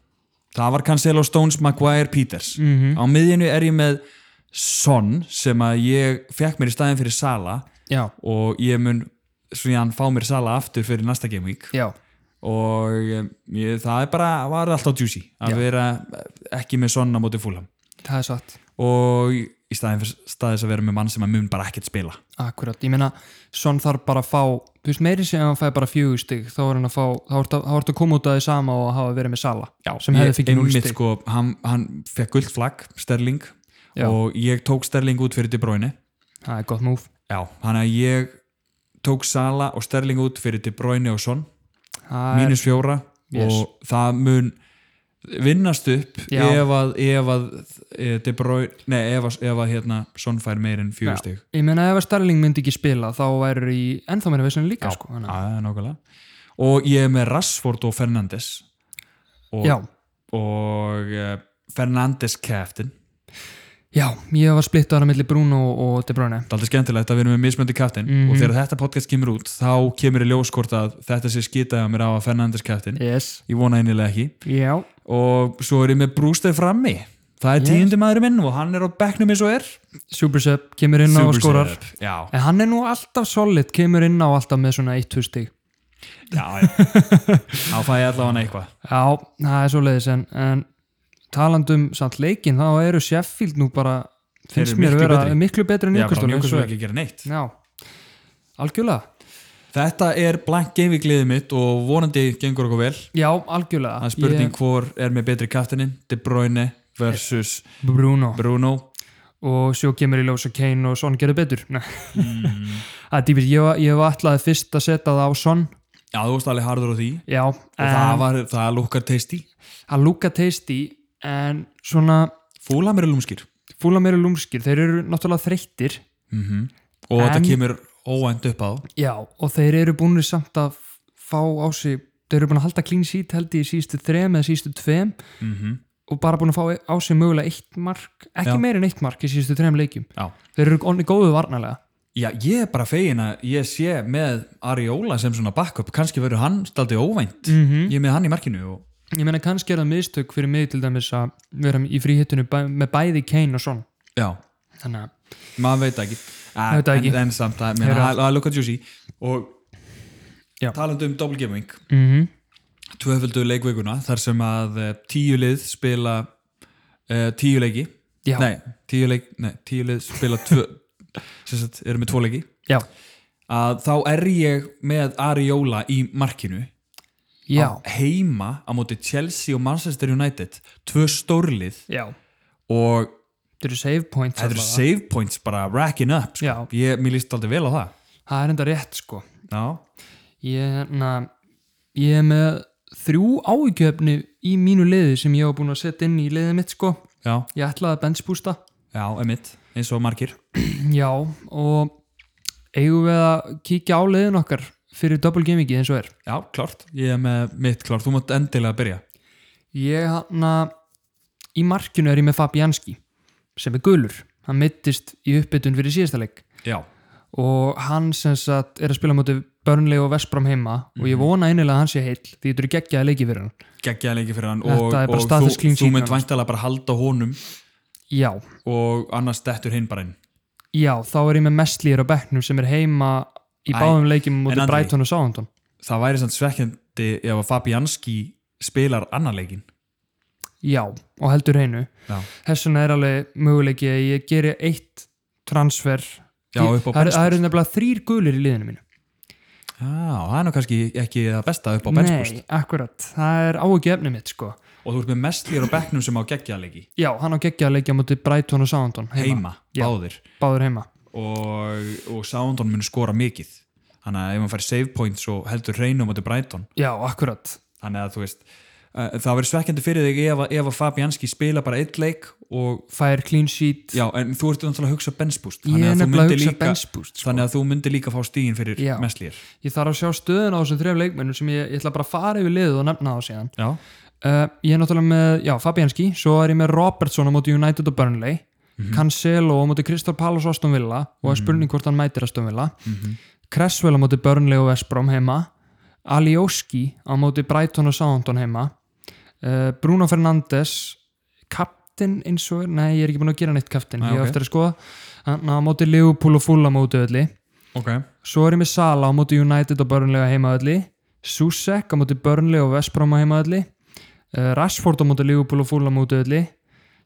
[SPEAKER 2] það var Cancelo Stones, Maguire, Peters
[SPEAKER 1] Mhm.
[SPEAKER 2] á miðjunu er ég með Son sem að ég fekk mér í staðin fyrir Sala
[SPEAKER 1] Já,
[SPEAKER 2] og ég mun svona hann fá mér Sala aftur fyrir næsta game week
[SPEAKER 1] já,
[SPEAKER 2] og eh, ég, það er bara, var alltaf juicy að
[SPEAKER 1] Já.
[SPEAKER 2] vera eh, ekki með Son á móti fúlam
[SPEAKER 1] það er satt
[SPEAKER 2] og í staðin fyrir staðis að vera með mann sem að mun bara ekkert spila
[SPEAKER 1] Akkurat, ég meina, svon þarf bara að fá þú veist meiri sem hann fæði bara fjögur stig þá er hann að fá, þá ertu að, er að koma út að þið sama og hafa verið með Sala sem hefði
[SPEAKER 2] Ég-
[SPEAKER 1] fikk núl
[SPEAKER 2] einmitt,
[SPEAKER 1] stig
[SPEAKER 2] sko, hann, hann fekk guld flagg, Sterling
[SPEAKER 1] Já.
[SPEAKER 2] og ég tók Sterling út fyrir De Bruyne
[SPEAKER 1] Það er gott múf,
[SPEAKER 2] Já, hann að ég tók Sala og Sterling út fyrir De Bruyne og Son
[SPEAKER 1] það er
[SPEAKER 2] mínus fjóra
[SPEAKER 1] Yes.
[SPEAKER 2] og það mun vinnast upp
[SPEAKER 1] Já.
[SPEAKER 2] ef að, ef að eh, De Bruyne, nei, ef að, ef að hérna, Son fær meir en
[SPEAKER 1] Já.
[SPEAKER 2] fjögur stig
[SPEAKER 1] Ég meina ef að Sterling myndi ekki spila þá væri í ennþá meira vissinu líka sko,
[SPEAKER 2] Já,
[SPEAKER 1] þannig að-
[SPEAKER 2] það er nákvæmlega og ég er með Rashford og Fernandes og,
[SPEAKER 1] já,
[SPEAKER 2] og uh, Fernandes keftin
[SPEAKER 1] já, ég var splitt ára milli Bruno og De Bruyne
[SPEAKER 2] Það er aldrei skemmtilegt að við erum með mismöndi kæftin
[SPEAKER 1] Mhm.
[SPEAKER 2] og þegar þetta podcast kemur út þá kemur í ljóskort að þetta sé skitaði á mér á að Fernandes kæftin
[SPEAKER 1] Yes,
[SPEAKER 2] ég vona einilega ekki
[SPEAKER 1] já,
[SPEAKER 2] og svo er ég með Brewster frammi það er
[SPEAKER 1] Yes.
[SPEAKER 2] yes. tíundi maður minn og hann er á bekknum eins og er
[SPEAKER 1] Supersub kemur inn á og
[SPEAKER 2] Super
[SPEAKER 1] skorar
[SPEAKER 2] setup. já,
[SPEAKER 1] En hann er nú alltaf solid, kemur inn á alltaf með svona 1-2 stig
[SPEAKER 2] já, já. þá fæ ég allavega hann eitthvað
[SPEAKER 1] Já, það er svo leiðis en, en talandum samt leikin þá eru Sheffield nú bara
[SPEAKER 2] Þeir
[SPEAKER 1] finnst
[SPEAKER 2] eru
[SPEAKER 1] mér að
[SPEAKER 2] miklu
[SPEAKER 1] vera
[SPEAKER 2] betri.
[SPEAKER 1] miklu betri en
[SPEAKER 2] já, bara
[SPEAKER 1] Newcastle eins
[SPEAKER 2] Newcastle
[SPEAKER 1] og
[SPEAKER 2] er ekki að gera neitt
[SPEAKER 1] er. Já, algjörlega
[SPEAKER 2] þetta er blank gaming liðið mitt og vonandi gengur okkur vel
[SPEAKER 1] Já, algjörlega
[SPEAKER 2] það er spurning hvor er með betri kæftinin De Bruyne versus
[SPEAKER 1] Ég- Bruno
[SPEAKER 2] Bruno
[SPEAKER 1] og svo kemur í ljósa Kane og Son gerði betur Nei.
[SPEAKER 2] Mm.
[SPEAKER 1] Það er dýpir, ég, var- ég var alltaf fyrst að setja það á Son
[SPEAKER 2] já, þú varst alveg harður á því
[SPEAKER 1] Já,
[SPEAKER 2] og það,
[SPEAKER 1] en
[SPEAKER 2] var, það lukkar teisti
[SPEAKER 1] að lúka teisti en svona
[SPEAKER 2] fúla mér lúmskir
[SPEAKER 1] fúla meira lúmskir, þeir eru náttúrulega þreyttir
[SPEAKER 2] og
[SPEAKER 1] En-
[SPEAKER 2] þetta kemur óænt upp á
[SPEAKER 1] Já, og þeir eru búinir samt að fá á sig, þeir eru búin að halda clean sheet held ég í sístu þrem eða sístu tveim
[SPEAKER 2] Mhm.
[SPEAKER 1] og bara búin að fá á sig mögulega eitt mark, ekki
[SPEAKER 2] Já.
[SPEAKER 1] meira en eitt mark í sístu þrem leikjum.
[SPEAKER 2] já
[SPEAKER 1] Þeir eru onni góðu varnalega.
[SPEAKER 2] Já, ég er bara fegin að ég sé með Ariola sem svona backup, kannski verður hann staldi óvænt,
[SPEAKER 1] Mhm.
[SPEAKER 2] ég er með hann í markinu og
[SPEAKER 1] Ég meina kannski er það mistök fyrir mig til dæmis að vera í fríhittinu bæ, með bæði Kane og Son.
[SPEAKER 2] já,
[SPEAKER 1] Þannig að,
[SPEAKER 2] maður veit það ekki, ah,
[SPEAKER 1] Veit það ekki.
[SPEAKER 2] En, en samt að
[SPEAKER 1] Heyrðu.
[SPEAKER 2] meina, að lukka juicy og
[SPEAKER 1] Já.
[SPEAKER 2] talandi um double gaming,
[SPEAKER 1] mm
[SPEAKER 2] tvöföldu leikveikuna þar sem að eh, tíu lið spila uh, tíu leiki
[SPEAKER 1] já,
[SPEAKER 2] nei, tíu, leik, nei, tíu lið spila tvö, sem sagt, eru með tvo leiki
[SPEAKER 1] já,
[SPEAKER 2] að þá er ég með Ariola í markinu
[SPEAKER 1] já,
[SPEAKER 2] á- heima á móti Chelsea og Manchester United tvö stórlið
[SPEAKER 1] já
[SPEAKER 2] og
[SPEAKER 1] þetta eru save points
[SPEAKER 2] þetta eru
[SPEAKER 1] allavega.
[SPEAKER 2] save points bara racking up sko.
[SPEAKER 1] Já.
[SPEAKER 2] ég, mér líst aldrei vel á það
[SPEAKER 1] það er enda rétt sko
[SPEAKER 2] Já.
[SPEAKER 1] ég, hérna, ég er með þrjú áhyggjöfni í mínu liði sem ég hef búin að setja inn í liðið mitt sko
[SPEAKER 2] Já,
[SPEAKER 1] ég ætlaði að benchbústa
[SPEAKER 2] já, emitt, eins og margir
[SPEAKER 1] Já, og eigum við að kíkja á leiðin okkar fyrir double gamingi eins og er.
[SPEAKER 2] Já, klart, ég er með mitt klart, þú mátt endilega byrja
[SPEAKER 1] Ég hann að í markinu er ég með Fabianski sem er gulur. Hann mittist í uppbytun fyrir síðasta leik
[SPEAKER 2] Já,
[SPEAKER 1] og hann sem sagt er að spila mútið Burnley og Vestbram heima og
[SPEAKER 2] Mhm.
[SPEAKER 1] ég vona einilega að hann sé heill því þetta eru geggjaði leiki fyrir hann.
[SPEAKER 2] geggjaði leiki fyrir hann
[SPEAKER 1] Þetta
[SPEAKER 2] og,
[SPEAKER 1] er bara
[SPEAKER 2] og þú,
[SPEAKER 1] staðfest clean
[SPEAKER 2] þú
[SPEAKER 1] sheet
[SPEAKER 2] mynd
[SPEAKER 1] nánast.
[SPEAKER 2] væntalega bara halda honum
[SPEAKER 1] Já,
[SPEAKER 2] og annars dettur hinn bara inn
[SPEAKER 1] já, þá er ég með Messlýr á bekknum sem er heima í
[SPEAKER 2] Æ,
[SPEAKER 1] báðum leikjum
[SPEAKER 2] en
[SPEAKER 1] mútið
[SPEAKER 2] Andri?
[SPEAKER 1] Brighton og Southampton.
[SPEAKER 2] Það væri samt svekkjandi ef að Fabianski spilar annar leikin
[SPEAKER 1] Já, og heldur heinu.
[SPEAKER 2] Já,
[SPEAKER 1] þess vegna er alveg möguleiki að ég geri eitt transfer
[SPEAKER 2] Já,
[SPEAKER 1] Ég- það
[SPEAKER 2] upp á
[SPEAKER 1] eru-
[SPEAKER 2] bench
[SPEAKER 1] það eru nefnilega þrýr gulir í liðinu mínu
[SPEAKER 2] Já, það er nú kannski ekki það besta upp á benchbúst
[SPEAKER 1] nei, akkurat, það er áhugi efni mitt sko.
[SPEAKER 2] og þú ert með mestlýr á bekknum sem á geggjaðleiki
[SPEAKER 1] já, hann á geggja að leikja mútið Brighton og Southampton heima,
[SPEAKER 2] heima,
[SPEAKER 1] Já.
[SPEAKER 2] báðir
[SPEAKER 1] báður heima
[SPEAKER 2] og, og Soundon mun skora mikið þannig að ef hann fær save points og heldur reynum átti Brighton
[SPEAKER 1] já, akkurat,
[SPEAKER 2] þannig að þú veist uh, það verður svekkjandi fyrir þig ef, að- ef að Fabianski spila bara eitt leik og
[SPEAKER 1] fær clean sheet
[SPEAKER 2] já, en þú ert náttúrulega að hugsa bench boost
[SPEAKER 1] ég er
[SPEAKER 2] að
[SPEAKER 1] nefnilega
[SPEAKER 2] þú
[SPEAKER 1] að
[SPEAKER 2] myndir
[SPEAKER 1] hugsa
[SPEAKER 2] líka,
[SPEAKER 1] bench boost sko.
[SPEAKER 2] þannig að þú myndir líka fá stígin fyrir
[SPEAKER 1] Já.
[SPEAKER 2] mestlýr
[SPEAKER 1] ég þarf að sjá stöðuna á þessum þref leikmennum sem ég, ég ætla bara að fara yfir liðið og nefna það síðan
[SPEAKER 2] já,
[SPEAKER 1] Uh, ég er náttúrulega með, já, Fabianski svo er ég með Robertson á móti United og Burnley
[SPEAKER 2] Mhm.
[SPEAKER 1] Cancelo á móti Crystal Palace og Aston Villa og er spurning hvort hann mætir Aston Villa
[SPEAKER 2] Mhm.
[SPEAKER 1] Cresswell á móti Burnley og Vestbrom heima Alioski á móti Brighton og Southampton heima uh, Bruno Fernandes kaptinn eins og er, nei, ég er ekki búin að gera neitt kaptinn,
[SPEAKER 2] Nei,
[SPEAKER 1] ég hef
[SPEAKER 2] ok.
[SPEAKER 1] eftir að skoða hann á móti Liverpool og Fulham á móti öllu
[SPEAKER 2] ok
[SPEAKER 1] Svo er ég með Sala á móti United og Burnley á heimaðalli Susek á móti Burnley og Vestbrom á heimaðalli uh, Rashford á móti Liverpool og Fulham á mótiðalli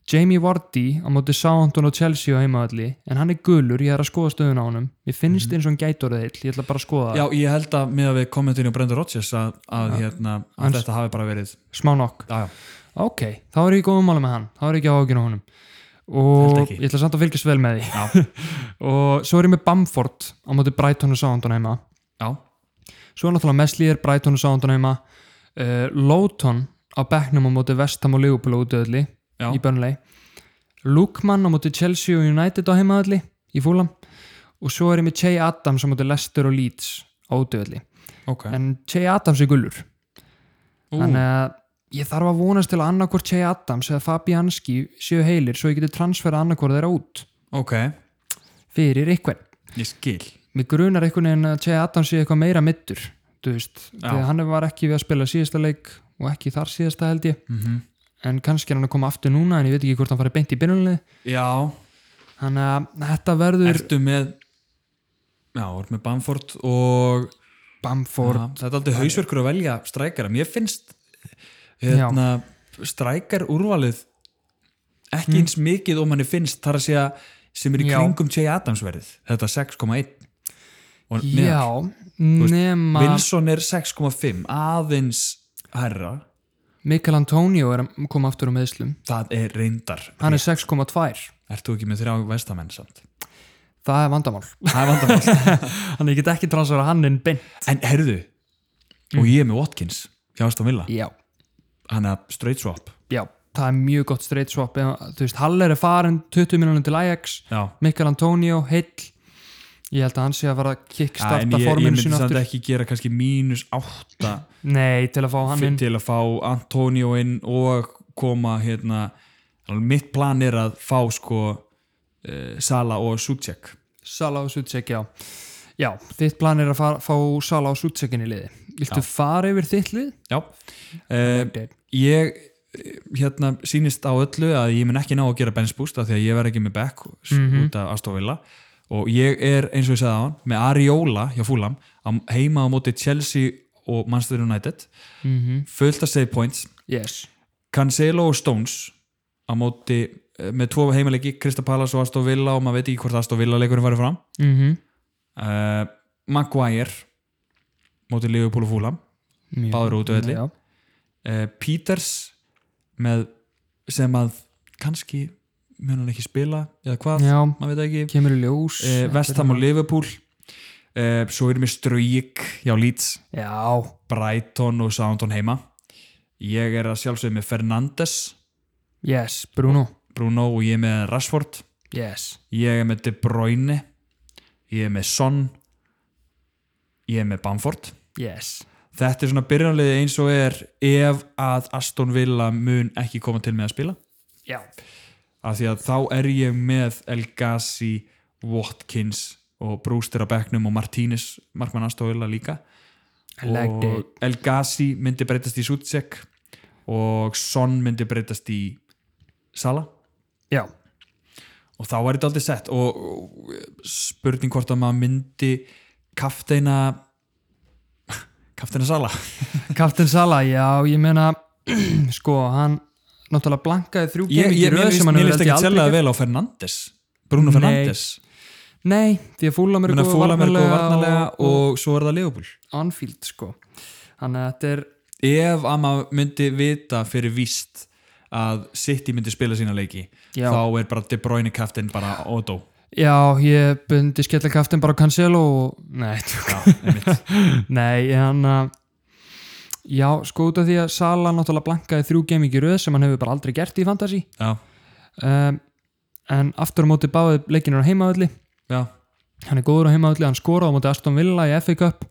[SPEAKER 1] Jamie Vardy á móti Southampton og Chelsea á heimaðalli en hann er gulur, ég er að skoða stöðun á honum Mér finnst eins og hann gætur það heill, ég ætla bara að skoða
[SPEAKER 2] Mhm. já,
[SPEAKER 1] það
[SPEAKER 2] ég held að miða við kommentinu á Brendan Rodgers að, að, hérna, að
[SPEAKER 1] Hans-
[SPEAKER 2] þetta hafi bara verið
[SPEAKER 1] smá nokk
[SPEAKER 2] já, já,
[SPEAKER 1] Ok, þá er ég í góðum mála með hann, þá er ég ekki á ágjörn á honum og
[SPEAKER 2] Held ekki.
[SPEAKER 1] ég ætla samt að fylgjast vel með því
[SPEAKER 2] já,
[SPEAKER 1] og svo er ég með Bamford á móti Brighton og Southampton heima
[SPEAKER 2] já.
[SPEAKER 1] Svo er náttúrulega Meslier, Brighton og Southampton heima uh, Lóton á bekknum á móti Vestham og Liverpool á útöðli
[SPEAKER 2] Já.
[SPEAKER 1] í Burnley Lukman á móti Chelsea og United á heimaðalli í Fulham og svo er ég með Che Adams á móti Leicester og Leeds á útöðli
[SPEAKER 2] ok
[SPEAKER 1] en eh, Che Adams er gullur
[SPEAKER 2] Ú,
[SPEAKER 1] þannig að ég þarf að vonast til að annarkvort Che Adams eða Fabianski séu heilir svo ég geti transferað annarkvort þeirra út
[SPEAKER 2] ok,
[SPEAKER 1] fyrir eitthvað
[SPEAKER 2] ég skil
[SPEAKER 1] mér grunar einhvern veginn að Jay Adams sé eitthvað meira middur þú veist,
[SPEAKER 2] Já.
[SPEAKER 1] þegar hann var ekki við að spila síðasta leik og ekki þar síðasta held ég
[SPEAKER 2] mm -hmm.
[SPEAKER 1] en kannski er hann að koma aftur núna en ég veit ekki hvort hann farið beint í byrjunlið
[SPEAKER 2] Já,
[SPEAKER 1] þannig að þetta verður
[SPEAKER 2] ertu með Já, ertu með Bamford og
[SPEAKER 1] Bamford,
[SPEAKER 2] ja, þetta er aldrei hausverkur að velja strækara Mér finnst hérna, strækar úrvalið ekki eins mikið og manni finnst þar að segja sem er í
[SPEAKER 1] Hmm. Já.
[SPEAKER 2] kringum Jay Adams verið þetta 6,1 og
[SPEAKER 1] já,
[SPEAKER 2] neðar.
[SPEAKER 1] nema
[SPEAKER 2] Wilson er 6,5 aðeins herra
[SPEAKER 1] Mikael Antonio er að koma aftur á meðslum
[SPEAKER 2] það er reyndar
[SPEAKER 1] hann er 6,2
[SPEAKER 2] Ertu ekki með þrjá vestamenn samt?
[SPEAKER 1] það er vandamál
[SPEAKER 2] Það er vandamál
[SPEAKER 1] hann get ekki transfera hann inn beint
[SPEAKER 2] En herðu,
[SPEAKER 1] Hmm.
[SPEAKER 2] og ég er með Watkins hjá Aston Villa
[SPEAKER 1] já,
[SPEAKER 2] hann er straight swap
[SPEAKER 1] já, það er mjög gott straight swap Ef- þú veist, Haller er farin 20 miljonum til Ajax
[SPEAKER 2] Já,
[SPEAKER 1] Mikael Antonio, heill ég held að hann sé að fara að
[SPEAKER 2] en
[SPEAKER 1] kickstarta
[SPEAKER 2] ég, ég
[SPEAKER 1] forminu
[SPEAKER 2] myndi
[SPEAKER 1] sín
[SPEAKER 2] samt
[SPEAKER 1] aftur
[SPEAKER 2] ekki gera kannski mínus átta
[SPEAKER 1] nei, til að fá hann
[SPEAKER 2] fyr-
[SPEAKER 1] inn
[SPEAKER 2] til að fá Antonio inn og koma hérna alveg mitt plan er að fá sko uh, Sala og Sucek
[SPEAKER 1] Sala og Sutsek, já já, þitt plan er að fara, fá Sala og Sutsekin í liði viltu fara yfir þitt lið?
[SPEAKER 2] Já uh,
[SPEAKER 1] Okay.
[SPEAKER 2] Ég eh, hérna sýnist á öllu að ég mun ekki ná að gera bench boost af því að ég verð ekki með back
[SPEAKER 1] Mhm.
[SPEAKER 2] út af Astovilla og ég er eins og ég sagði á hann með Ariola hjá Fúlam heima á móti Chelsea og Manchester United fullt að save points
[SPEAKER 1] yes,
[SPEAKER 2] Cancelo og Stones á móti eh, með tvo heimaleiki Krista Palace og Astor Villa og maður veit ekki hvort Astor Villa leikurinn farið fram
[SPEAKER 1] mm
[SPEAKER 2] uh, Maguire mótið Liverpool og Fulham
[SPEAKER 1] Mjög-
[SPEAKER 2] Báðir út á velli.
[SPEAKER 1] Já.
[SPEAKER 2] uh, Peters með sem að kannski mun hann ekki spila eða hvað,
[SPEAKER 1] Já,
[SPEAKER 2] maður veit það ekki
[SPEAKER 1] kemur í ljós
[SPEAKER 2] uh, Vestham og Liverpool uh, svo erum við Ströyik já Leeds,
[SPEAKER 1] Já,
[SPEAKER 2] Brighton og Soundon heima ég er að sjálfsögðu með Fernandes
[SPEAKER 1] yes, Bruno
[SPEAKER 2] Bruno og ég er með Rashford
[SPEAKER 1] Yes,
[SPEAKER 2] ég er með De Bruyne ég er með Son ég er með Bamford
[SPEAKER 1] yes
[SPEAKER 2] þetta er svona byrjanlega eins og er ef að Aston Villa mun ekki koma til með að spila
[SPEAKER 1] Já,
[SPEAKER 2] af því að þá er ég með El Gassi, Watkins og Brewster á bekknum og Martínez Markmann Aston Villa líka
[SPEAKER 1] I liked it.
[SPEAKER 2] og El Gassi myndi breytast í Sutsek og Son myndi breytast í Sala
[SPEAKER 1] já,
[SPEAKER 2] og þá var þetta aldrei sett og og spurning hvort að maður myndi kafteina kafteina Sala
[SPEAKER 1] Captain Sala, já, ég meina sko, hann náttúrulega blankaði þrjú
[SPEAKER 2] ég,
[SPEAKER 1] geimik í
[SPEAKER 2] ég, mér
[SPEAKER 1] röð
[SPEAKER 2] líst
[SPEAKER 1] sem hann
[SPEAKER 2] mér
[SPEAKER 1] hefur
[SPEAKER 2] líst
[SPEAKER 1] held ég
[SPEAKER 2] ekki
[SPEAKER 1] aldrei
[SPEAKER 2] sérlega
[SPEAKER 1] gert.
[SPEAKER 2] vel á Fernandes Bruno
[SPEAKER 1] Nei.
[SPEAKER 2] Fernandes
[SPEAKER 1] Nei, því að Fúlam er
[SPEAKER 2] Mér að fóla mér góð varnalega
[SPEAKER 1] og,
[SPEAKER 2] og svo er það Leopold
[SPEAKER 1] og Anfield, sko Þannig að þetta er,
[SPEAKER 2] ef að maður myndi vita fyrir víst að City myndi spila sína leiki
[SPEAKER 1] Já.
[SPEAKER 2] þá er bara De Bruyne kaftin bara Odo
[SPEAKER 1] já, ég bundi skella kaftin bara á Cancelo og, nei,
[SPEAKER 2] Já, einmitt.
[SPEAKER 1] nei, hann að Já, sko út af því að Sala náttúrulega blankaði þrjú geimik í röð sem hann hefur bara aldrei gert í Fantasí
[SPEAKER 2] já,
[SPEAKER 1] um, en aftur á móti báði leikinur á heimavalli
[SPEAKER 2] já,
[SPEAKER 1] hann er góður á heimavalli, hann skoraði á móti Aston Villa í FA Cup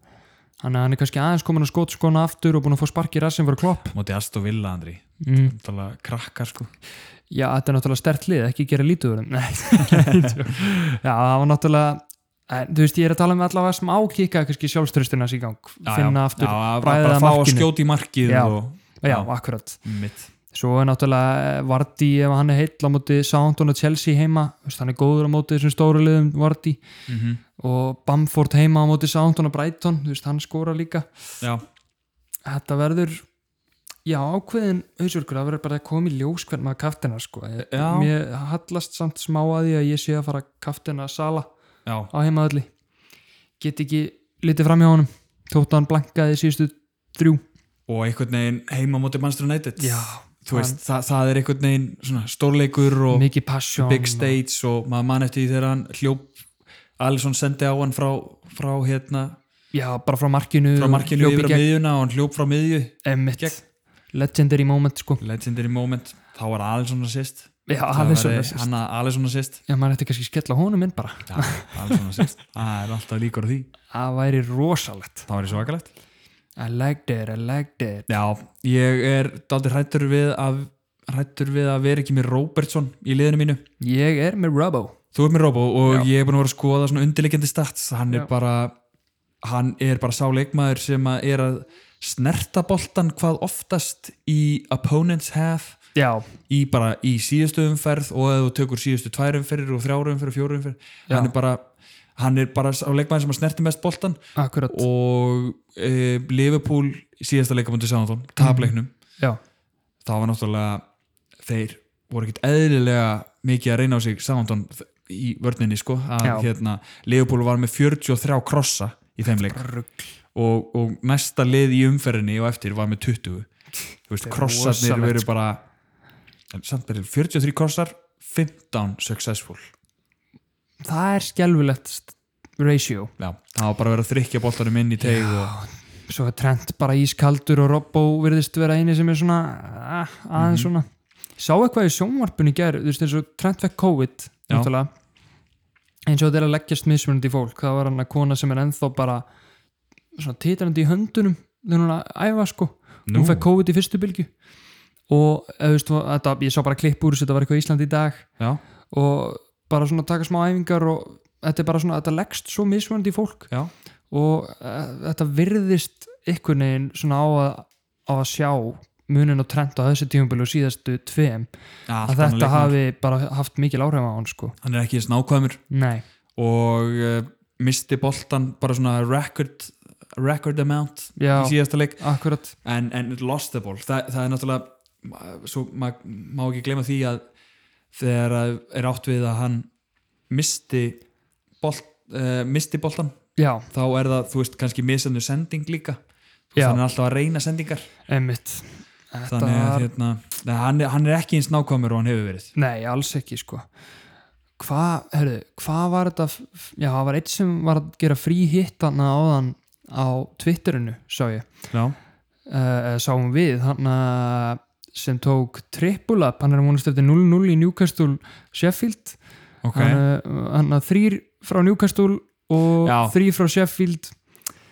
[SPEAKER 1] hann er, hann er kannski aðeins komin að skotskona aftur og búin að fá sparki í rassin fyrir klopp
[SPEAKER 2] móti Aston Villa Andri
[SPEAKER 1] mm.
[SPEAKER 2] Náttúrulega krakkar sko
[SPEAKER 1] já, þetta er náttúrulega stert lið, ekki gera lítið úr þeim Nei, djók. já, það var náttúrulega en, þú veist, ég er að tala um allavega smá kika kannski sjálfströstina sig í gang
[SPEAKER 2] já,
[SPEAKER 1] finna
[SPEAKER 2] já,
[SPEAKER 1] aftur,
[SPEAKER 2] já, að
[SPEAKER 1] bræða
[SPEAKER 2] bara
[SPEAKER 1] að
[SPEAKER 2] fá að
[SPEAKER 1] markinu.
[SPEAKER 2] skjóti markið
[SPEAKER 1] Já.
[SPEAKER 2] og
[SPEAKER 1] já,
[SPEAKER 2] já.
[SPEAKER 1] akkurat
[SPEAKER 2] mitt
[SPEAKER 1] svo er náttúrulega Vardí ef hann er heill á móti Soundon og Chelsea heima þú veist, hann er góður á móti þessum stóru liðum Vardí
[SPEAKER 2] mm
[SPEAKER 1] og Bamford heima á móti Soundon og Brighton, þú veist, hann skora líka
[SPEAKER 2] já,
[SPEAKER 1] þetta verður já, ákveðin hausverkur, það verður bara að koma í ljós hvern maður kaftina, sko Ég-
[SPEAKER 2] Já.
[SPEAKER 1] mér hallast samt smá að því að ég sé að fara að kaftina Sala
[SPEAKER 2] já,
[SPEAKER 1] á heimaðalli get ekki litið fram hjá honum þótt að hann blankaði síðustu þrjú
[SPEAKER 2] og einhvern veginn heima móti Manchester United þú
[SPEAKER 1] hann-
[SPEAKER 2] veist, það, það er einhvern veginn svona stórleikur og
[SPEAKER 1] mikið passion
[SPEAKER 2] big stage og maður mann eftir því þegar hann hljóp Alisson sendi á hann frá, frá hérna
[SPEAKER 1] já, bara frá markinu
[SPEAKER 2] frá
[SPEAKER 1] og
[SPEAKER 2] markinu
[SPEAKER 1] hljóp í
[SPEAKER 2] yfir á
[SPEAKER 1] gegn.
[SPEAKER 2] miðjuna og hann hljóp frá miðju
[SPEAKER 1] Einmitt.
[SPEAKER 2] gegn.
[SPEAKER 1] legendary moment, sko
[SPEAKER 2] legendary moment, þá var Alisson assist
[SPEAKER 1] já,
[SPEAKER 2] Það
[SPEAKER 1] alveg svo
[SPEAKER 2] væri hann að Alisson assist
[SPEAKER 1] já, maður ætti kannski að skella honum inn bara
[SPEAKER 2] Já, Alisson assist, það er alltaf líkur á því
[SPEAKER 1] það væri rosalegt
[SPEAKER 2] það var í svakalegt
[SPEAKER 1] I liked it, I liked it
[SPEAKER 2] já, ég er daldi hrættur við að hrættur við að vera ekki með Robertson í liðinu mínu
[SPEAKER 1] ég er með Robbo
[SPEAKER 2] þú ert með Robo og
[SPEAKER 1] Já.
[SPEAKER 2] ég er búin að vera að skoða svona undirleikjandi stats hann
[SPEAKER 1] Já.
[SPEAKER 2] er bara hann er bara sá leikmaður sem að er að snerta boltan hvað oftast í opponents half
[SPEAKER 1] já,
[SPEAKER 2] í bara í síðustu umferð og ef þú tökur síðustu tvær umferðir og þrjár umferð og fjóru umferð
[SPEAKER 1] Já.
[SPEAKER 2] hann er bara hann er bara á leikmæðin sem að snerti mest boltan
[SPEAKER 1] Akkurat,
[SPEAKER 2] og e, Liverpool í síðasta leikamundi Sándón, tapleiknum
[SPEAKER 1] já,
[SPEAKER 2] það var náttúrulega þeir voru ekkit eðlilega mikið að reyna á sig Sándón í vörninni sko að
[SPEAKER 1] Já.
[SPEAKER 2] hérna, Liverpool var með 43 krossa í þeim leik og, og næsta lið í umferðinni og eftir var með 20 Þú veist,
[SPEAKER 1] Þetta er
[SPEAKER 2] krossarnir
[SPEAKER 1] rosalegt,
[SPEAKER 2] veru bara en samt byrjum 43 krossar 15 successful
[SPEAKER 1] það er skelfilegt st- ratio
[SPEAKER 2] Já, það var bara verið að þrykja boltanum inn í teig og,
[SPEAKER 1] Svo er Trent bara ískaldur og Robbo virðist vera eini sem er svona ah,
[SPEAKER 2] Mhm.
[SPEAKER 1] aðeins svona Sá eitthvað í sjónvarpunni gerð, þú veist eins og Trent fekk COVID
[SPEAKER 2] Já.
[SPEAKER 1] náttúrulega eins og þetta er að leggjast mismunandi í fólk það var hann að kona sem er ennþá bara svona titrandi í höndunum þegar hún er að æfa sko
[SPEAKER 2] Nú.
[SPEAKER 1] hún fekk COVID í fyrstu bylgju og eða, þú veist, þetta, ég sá bara klipp úr þessu, þetta var eitthvað í Íslandi í dag
[SPEAKER 2] Já,
[SPEAKER 1] og bara svona taka smá æfingar og þetta er bara svona, þetta leggst svo mismunandi í fólk
[SPEAKER 2] já,
[SPEAKER 1] og uh, þetta virðist einhvern veginn svona á að, á að sjá munin og trend á þessu tímubili og síðastu tveim
[SPEAKER 2] allt
[SPEAKER 1] að
[SPEAKER 2] annað
[SPEAKER 1] þetta
[SPEAKER 2] leikmaður.
[SPEAKER 1] hafi bara haft mikil áhrif á hann sko
[SPEAKER 2] Hann er ekki eins nákvæmur
[SPEAKER 1] Nei,
[SPEAKER 2] og uh, misti boltan bara svona record, record amount
[SPEAKER 1] já,
[SPEAKER 2] í síðasta leik
[SPEAKER 1] akkurat
[SPEAKER 2] en, en lost the ball Þa, það er náttúrulega ma- svo, ma, má ekki gleyma því að þegar að er átt við að hann misti bolt, uh, misti boltan
[SPEAKER 1] já,
[SPEAKER 2] þá er það, þú veist, kannski misanu sending líka Þú veist,
[SPEAKER 1] Já.
[SPEAKER 2] hann er alltaf að reyna sendingar
[SPEAKER 1] einmitt Þetta
[SPEAKER 2] þannig
[SPEAKER 1] var-
[SPEAKER 2] að hérna, nei, hann, er- hann er ekki eins nákvæmur og hann hefur verið
[SPEAKER 1] Nei, alls ekki sko Hvað, herðu, hvað var þetta f- f- Já, það var eitt sem var að gera frí hitt hann áðan á Twitterinu, sá ég
[SPEAKER 2] já,
[SPEAKER 1] uh, sáum við, hann að sem tók trippulap hann er múnast eftir 0-0 í Newcastle Sheffield,
[SPEAKER 2] ok,
[SPEAKER 1] hann, uh, hann að þrýr frá Newcastle og
[SPEAKER 2] Já.
[SPEAKER 1] þrýr frá Sheffield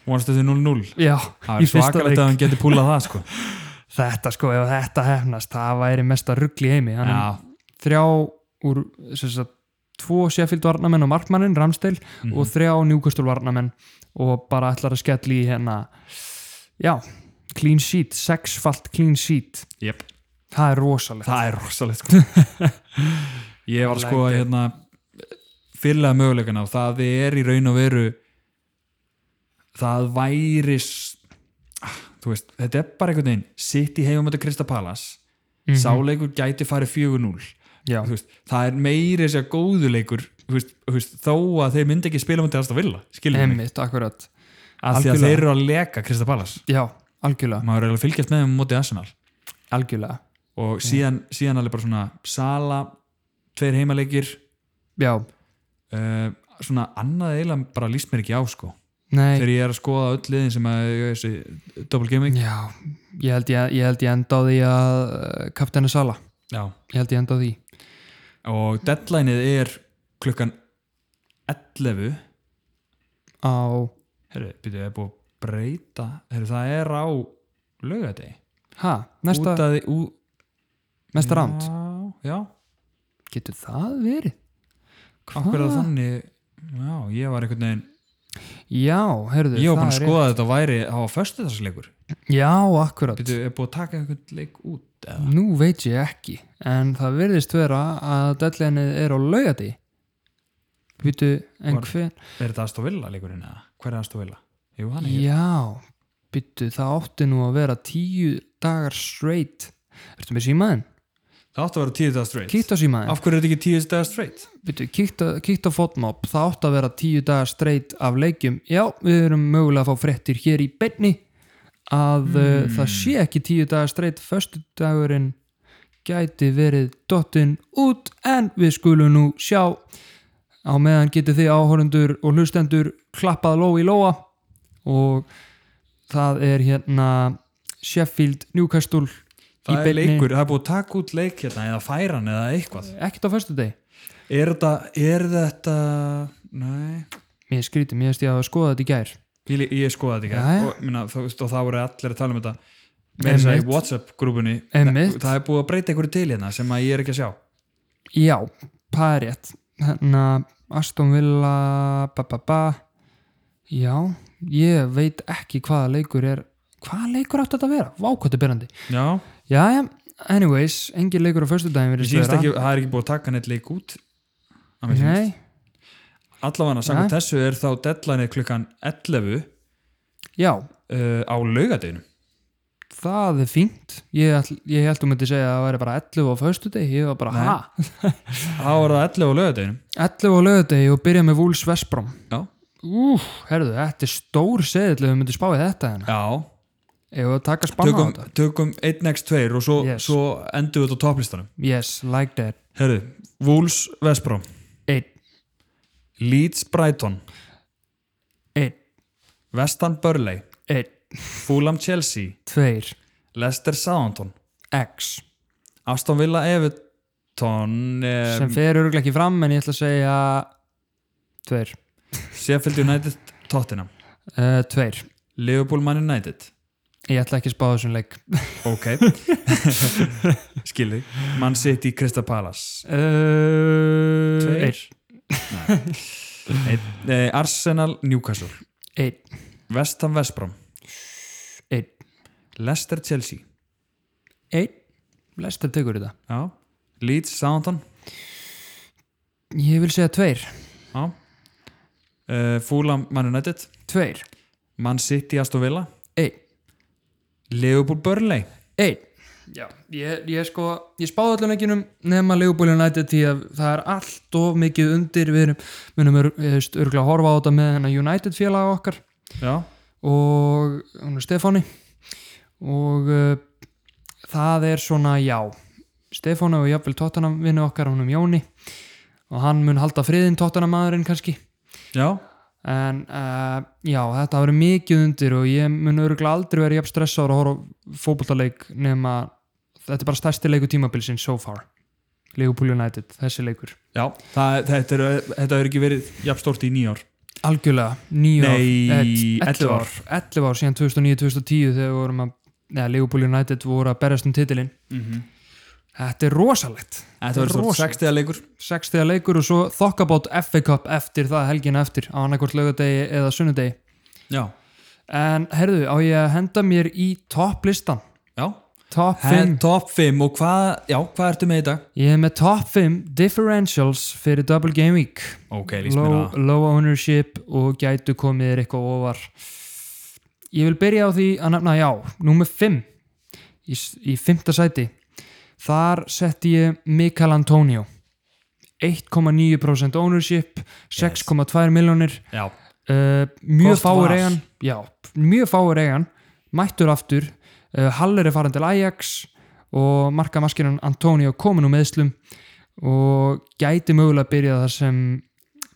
[SPEAKER 2] vonast þetta 0-0
[SPEAKER 1] Já, í
[SPEAKER 2] það er
[SPEAKER 1] fyrsta leik.
[SPEAKER 2] svakalegt að hann getur púlað það sko.
[SPEAKER 1] þetta sko, ef þetta hefnast það væri mesta ruggli heimi hann
[SPEAKER 2] já,
[SPEAKER 1] er þrjá úr sem sagt, tvo Sheffield varnamenn og markmannin Ramsdale
[SPEAKER 2] Mhm.
[SPEAKER 1] og þrjá Newcastle varnamenn og bara ætlar að skelli í hérna já, clean sheet sexfalt clean sheet
[SPEAKER 2] jöp
[SPEAKER 1] það er rosalegt
[SPEAKER 2] Það er rosalegt sko. Ég var sko
[SPEAKER 1] Like it.
[SPEAKER 2] hérna fyrlega möguleikana og það er í raun og veru það væri s- ah, þú veist, þetta er bara einhvern veginn sitt í heimamöndu Kristapalas mm
[SPEAKER 1] Mhm.
[SPEAKER 2] sáleikur gæti farið 4-0
[SPEAKER 1] já,
[SPEAKER 2] Þú veist, það er meiri þess að góðuleikur þú veist, þú veist, þó að þeir myndi ekki spila mútið aðstaf vilja, skiljum mig
[SPEAKER 1] emmitt, akkurat
[SPEAKER 2] að því að
[SPEAKER 1] algjörlega.
[SPEAKER 2] þeir eru að leka Kristapalas
[SPEAKER 1] já, algjörlega,
[SPEAKER 2] maður er alveg fylgjast með þeim mútið Arsenal
[SPEAKER 1] algjörlega
[SPEAKER 2] og síðan, síðan alveg bara svona Sala, tveir heimaleikir
[SPEAKER 1] já,
[SPEAKER 2] uh, svona annað eiginlega bara líst mér ekki á sko
[SPEAKER 1] nei
[SPEAKER 2] þegar ég er að skoða öll liðin sem að eiga þessi double gaming
[SPEAKER 1] já, ég held ég, ég held ég enda á því að uh, kapteinu Sala,
[SPEAKER 2] Já.
[SPEAKER 1] ég held ég enda á því
[SPEAKER 2] og deadlineið er klukkan 11
[SPEAKER 1] á,
[SPEAKER 2] herru, byrju, er búið að breyta herru, það er á lögadegi
[SPEAKER 1] ha, næsta,
[SPEAKER 2] að, ú,
[SPEAKER 1] næsta round
[SPEAKER 2] já, já,
[SPEAKER 1] getur það verið?
[SPEAKER 2] akkur að þannig já, ég var einhvern veginn
[SPEAKER 1] Já, heyrðu,
[SPEAKER 2] ég
[SPEAKER 1] það
[SPEAKER 2] var búin að
[SPEAKER 1] er
[SPEAKER 2] skoða að þetta væri á föstudagsleikur
[SPEAKER 1] rétt. Já, akkurat.
[SPEAKER 2] byrju, er búið að taka einhvern leik út eða?
[SPEAKER 1] Nú veit ég ekki, en það virðist vera að dællinni er á laugati. Býtu, en
[SPEAKER 2] Var-
[SPEAKER 1] hver?
[SPEAKER 2] er þetta aðstofilla leikurinn eða? hver er aðstofilla? jú, hann er hér.
[SPEAKER 1] Já, býtu, það átti nú að vera tíu dagar straight. Ertu með símaðinn?
[SPEAKER 2] það átti að vera tíu dagar straight
[SPEAKER 1] Kíkt á símaðinn.
[SPEAKER 2] Af hverju er þetta ekki tíu dagar straight?
[SPEAKER 1] Býtu, kíkt á, kíkt á fotmob. Það átti að vera tíu dagar straight af leikjum. Já, við erum mögulega að fá fréttir hér í beinni að mm.
[SPEAKER 2] Hmm.
[SPEAKER 1] það sé ekki tíu dagar straight. Föstudagurinn gæti verið dottinn út en við skulum nú sjá á meðan getið þið áhorundur og hlustendur klappað ló í lóa og það er hérna Sheffield Newcastle í
[SPEAKER 2] Það er
[SPEAKER 1] beinni.
[SPEAKER 2] leikur, það er búið að taka út leik hérna eða færa hann eða eitthvað
[SPEAKER 1] ekkert á föstudegi
[SPEAKER 2] Er þetta, er þetta Nei,
[SPEAKER 1] mér skríti, mér veist ég að skoða þetta í gær
[SPEAKER 2] ég, ég skoða þetta ekki
[SPEAKER 1] Jæja.
[SPEAKER 2] og, minna, þú veist, og það voru allir að tala um þetta með þess að
[SPEAKER 1] Einmitt.
[SPEAKER 2] í Whatsapp-grúpunni
[SPEAKER 1] Einmitt.
[SPEAKER 2] Það er búið að breyta einhverju til hérna sem að ég er ekki að sjá
[SPEAKER 1] já, það er rétt hérna Aston Villa ba ba ba já, ég veit ekki hvaða leikur er hvaða leikur átti þetta að vera, vákvættu byrjandi
[SPEAKER 2] Já,
[SPEAKER 1] Jæja, anyways, engin leikur á föstudaginn
[SPEAKER 2] ég
[SPEAKER 1] verið
[SPEAKER 2] sínst ekki, það er ekki búið að taka neitt leik út að mér sýnist.
[SPEAKER 1] Nei,
[SPEAKER 2] Allavega, samkvæmt þessu er þá deadline klukkan 11 uh,
[SPEAKER 1] já,
[SPEAKER 2] á laugadeginu
[SPEAKER 1] það er fínt Ég, ætl, ég held um að segja að það væri bara 11 á föstudegi, ég var bara
[SPEAKER 2] Nei.
[SPEAKER 1] ha
[SPEAKER 2] Þá er það 11 á laugadeginu
[SPEAKER 1] 11 á lögadegi og byrja með Wolves Vesprom
[SPEAKER 2] Já,
[SPEAKER 1] Úf, herðu, þetta er stór seðill ef við myndum spáið þetta hérna
[SPEAKER 2] já
[SPEAKER 1] Ef við að taka spanna á
[SPEAKER 2] tökum,
[SPEAKER 1] þetta
[SPEAKER 2] tökum 1x2 og svo,
[SPEAKER 1] Yes.
[SPEAKER 2] svo endum við þetta á topplistanum
[SPEAKER 1] Yes, like that
[SPEAKER 2] Herðu, Wolves Vesprám
[SPEAKER 1] 1,
[SPEAKER 2] Leeds Brighton
[SPEAKER 1] 1,
[SPEAKER 2] Vestan Burley
[SPEAKER 1] 1,
[SPEAKER 2] Fulham Chelsea
[SPEAKER 1] 2,
[SPEAKER 2] Leicester Southampton
[SPEAKER 1] x
[SPEAKER 2] Aston Villa Everton
[SPEAKER 1] Sem
[SPEAKER 2] eh,
[SPEAKER 1] fer örgulega ekki fram en ég ætla að segja 2,
[SPEAKER 2] Sheffield United Tottenham
[SPEAKER 1] uh, 2
[SPEAKER 2] Liverpool Man United
[SPEAKER 1] Ég ætla ekki að spá þessum leik
[SPEAKER 2] ok skilði Man City Crystal Palace
[SPEAKER 1] Uh,
[SPEAKER 2] Tveir. Nei. Eh, Arsenal Newcastle
[SPEAKER 1] Einn,
[SPEAKER 2] Vestan Vesprám
[SPEAKER 1] einn,
[SPEAKER 2] Leicester Chelsea
[SPEAKER 1] einn Lester tekur þetta
[SPEAKER 2] Já. Leeds Southampton
[SPEAKER 1] Ég vil segja tveir,
[SPEAKER 2] Já. Uh, Fúlam Man United
[SPEAKER 1] tveir,
[SPEAKER 2] Man City Aston Villa
[SPEAKER 1] einn,
[SPEAKER 2] Liverpool Burnley
[SPEAKER 1] einn Já, ég, ég sko, ég spáði allan leikinum nema Leopold United því að það er allt of mikið undir við erum, munum ör, eh, örgulega að horfa á þetta með hennar United félaga okkar
[SPEAKER 2] Já,
[SPEAKER 1] og hún er Stefáni og uh, það er svona já Stefáni og jafnvel Tottenham vinnu okkar hún um Jóni og hann mun halda friðin Tottenham maðurinn kannski
[SPEAKER 2] já,
[SPEAKER 1] en uh, já þetta hafa verið mikið undir og ég mun örgulega aldrei verið jafn stressaður að horfa fótboltaleik nema þetta er bara stærsti leiku tímabilsinn so far Liverpool United, þessi leikur
[SPEAKER 2] já. Það, þetta, er, þetta er ekki verið jafn stórt í nýjár
[SPEAKER 1] algjörlega, nýja
[SPEAKER 2] Nei,
[SPEAKER 1] 11 ár 11 ár síðan 2009-2010 þegar við vorum að, neða, Liverpool United voru að berjast um titilinn
[SPEAKER 2] mm -hmm.
[SPEAKER 1] þetta er rosalegt,
[SPEAKER 2] Þetta verður stórt
[SPEAKER 1] Rosa.
[SPEAKER 2] sextiða leikur
[SPEAKER 1] 60 leikur og svo þokkabátt FA Cup eftir það helgin eftir á annarkvort lögadegi eða sunnudegi
[SPEAKER 2] Já,
[SPEAKER 1] en herðu, á ég að henda mér í topplistan,
[SPEAKER 2] já
[SPEAKER 1] topp 5
[SPEAKER 2] Head Top 5 og hvað, já, hvað ertu með í dag?
[SPEAKER 1] ég er með topp 5 differentials fyrir Double Game Week
[SPEAKER 2] Ok,
[SPEAKER 1] low, low ownership og gætu komið þér eitthvað ofar ég vil byrja á því að nefna já, númer 5 í, s- í 5. sæti þar setti ég Mikael Antonio 1,9% ownership 6,2 miljónir
[SPEAKER 2] Já,
[SPEAKER 1] uh, mjög
[SPEAKER 2] Gott
[SPEAKER 1] fáur
[SPEAKER 2] val.
[SPEAKER 1] eigan já, mjög fáur eigan mættur aftur, uh, Haller er farin til Ajax og markamaskinan Antonio komin úr meðslum og gæti mögulega byrjað það sem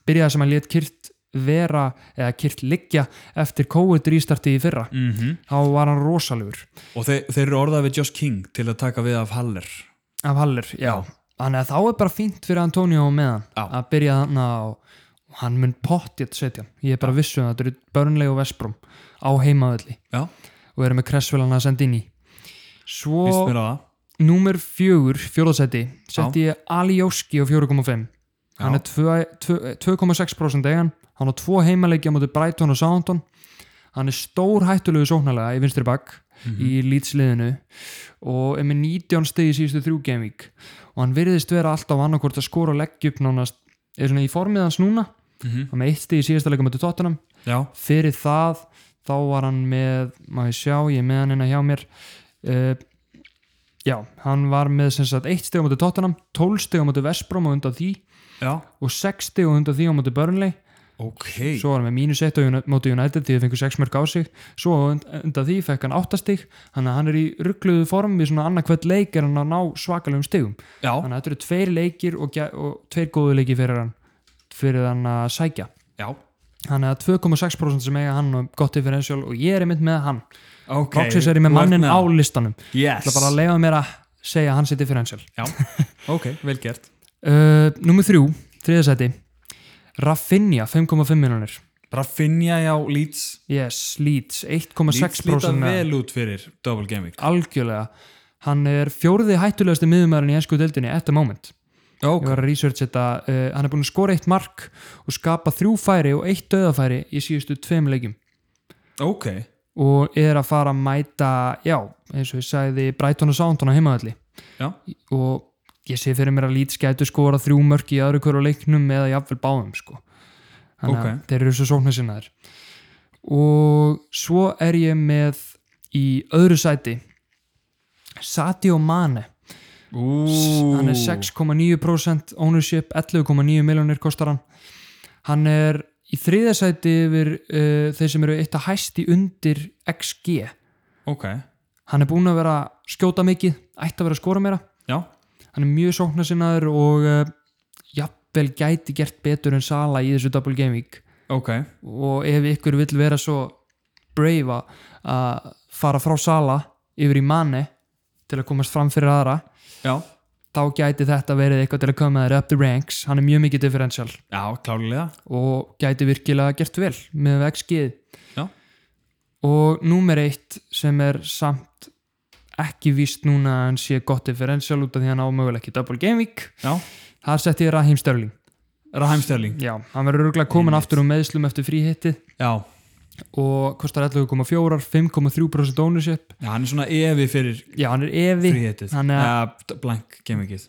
[SPEAKER 1] byrjað sem að lét kyrt vera eða kyrt liggja eftir COVID rístarti í fyrra
[SPEAKER 2] mhm
[SPEAKER 1] þá var hann rosalegur
[SPEAKER 2] Og þeir, þeir eru orðað við Josh King til að taka við af Haller.
[SPEAKER 1] af Haller, já þannig að þá er bara fínt fyrir Antonio á meðan
[SPEAKER 2] Já.
[SPEAKER 1] að byrja þannig á og hann mun pottið setja hann. ég er bara vissu að þetta eru Burnley og Vestbrom á heimaðalli
[SPEAKER 2] Já,
[SPEAKER 1] og erum með Cresswellan að senda inn í svo
[SPEAKER 2] víst mér á það.
[SPEAKER 1] númer fjögur fjóðasetti setti ég Alioski á 4,5 hann
[SPEAKER 2] Já.
[SPEAKER 1] er 2 2 2,6% egan hann á tvo heimaleikja mútið Brighton og Southampton hann er stór hættulegu sóknalega í vinstri bakk
[SPEAKER 2] Mhm.
[SPEAKER 1] í lýtsliðinu og er með 19 stegi síðustu þrjú gamevík og hann virðist vera alltaf annarkvort að skora og leggja upp nánast er svona í formið hans núna
[SPEAKER 2] Mhm.
[SPEAKER 1] hann er með eitt stegi síðasta leikum mútið Tottenham
[SPEAKER 2] Já,
[SPEAKER 1] fyrir það þá var hann með, má ég sjá, ég er með hann hérna hjá mér uh, já, hann var með sem sagt eitt stig á móti Tottenham, 12 stig á móti Vestbrom og undan því
[SPEAKER 2] já.
[SPEAKER 1] og 6 stig og undan því á móti Burnley
[SPEAKER 2] Ok.
[SPEAKER 1] svo var hann með mínus 1 á Uni- móti United því þau fengur 6 mörg á sig svo á und- undan því fekk hann 8 stig þannig að hann er í ruggluðu form við svona annarkvæmt leik er hann að ná svakalegum stigum
[SPEAKER 2] já,
[SPEAKER 1] þannig að þetta eru tveir leikir og, gæ- og tveir góðu leikir fyrir hann fyrir hann að sækja
[SPEAKER 2] já.
[SPEAKER 1] Þannig að 2,6% sem eiga hann og gott differential og ég er einmitt með hann
[SPEAKER 2] Ok.
[SPEAKER 1] Roxys er ég með
[SPEAKER 2] þú ert
[SPEAKER 1] mannin á
[SPEAKER 2] hann.
[SPEAKER 1] listanum Það
[SPEAKER 2] Yes.
[SPEAKER 1] er bara að leiða mér að segja hans í differential
[SPEAKER 2] Já, ok, vel gert.
[SPEAKER 1] uh, Númer þrjú, þriðasæti Raffinja, 5,5 miljonir
[SPEAKER 2] Raffinja, já, Leeds.
[SPEAKER 1] Yes, Leeds,
[SPEAKER 2] Leeds líta
[SPEAKER 1] 1,6% með
[SPEAKER 2] vel út fyrir Double Game Week.
[SPEAKER 1] Algjörlega Hann er fjórði hættulegasti miðumæðurinn í ennsku deildinni at the moment Ég
[SPEAKER 2] Ok.
[SPEAKER 1] var að research þetta uh, Hann er búin að skora eitt mark og skapa þrjú færi og eitt döðafæri í síðustu tveim leikjum
[SPEAKER 2] Ok.
[SPEAKER 1] og er að fara að mæta já, eins og ég sagði Brighton og Soundon á heimaðalli
[SPEAKER 2] Já.
[SPEAKER 1] og ég sé fyrir mér að Leeds gætu skora þrjú mörk í öðru hverju leiknum eða jafnvel báðum sko þannig að
[SPEAKER 2] Ok.
[SPEAKER 1] þeir eru svo sóknar sinnaðir og svo er ég með í öðru sæti Sadio Mane
[SPEAKER 2] Ú.
[SPEAKER 1] hann er 6,9% ownership 11,9 miljonir kostar hann hann er í þriða sæti yfir uh, þeir sem eru eitt að hæsti undir XG
[SPEAKER 2] Ok.
[SPEAKER 1] hann er búinn að vera að skjóta mikið ætti að vera að skora meira
[SPEAKER 2] Já.
[SPEAKER 1] hann er mjög sóknarsinnaður og uh, jafnvel gæti gert betur en Sala í þessu Double Game Week
[SPEAKER 2] Ok.
[SPEAKER 1] og ef ykkur vill vera svo brave að- að fara frá Sala yfir í manni til að komast fram fyrir aðra
[SPEAKER 2] Já.
[SPEAKER 1] þá gæti þetta verið eitthvað til að koma þér up the ranks hann er mjög mikið differential
[SPEAKER 2] Já, klárlega.
[SPEAKER 1] og gæti virkilega gert vel með XG-ið
[SPEAKER 2] Já.
[SPEAKER 1] og númer eitt sem er samt ekki víst núna að hann sé gott differential út af því að hann ámögulega ekki double game week
[SPEAKER 2] Já.
[SPEAKER 1] þar setti ég Raheem Sterling
[SPEAKER 2] Raheim Sterling.
[SPEAKER 1] já, hann verður örgulega komin
[SPEAKER 2] Einmitt.
[SPEAKER 1] aftur um meðslum eftir fríhitti
[SPEAKER 2] Já.
[SPEAKER 1] og kostar 11,4 5,3% ownership
[SPEAKER 2] Já, hann er svona evi fyrir
[SPEAKER 1] já, hann er evi
[SPEAKER 2] fríhetið.
[SPEAKER 1] Hann er-
[SPEAKER 2] Ja, blank Game Weekið.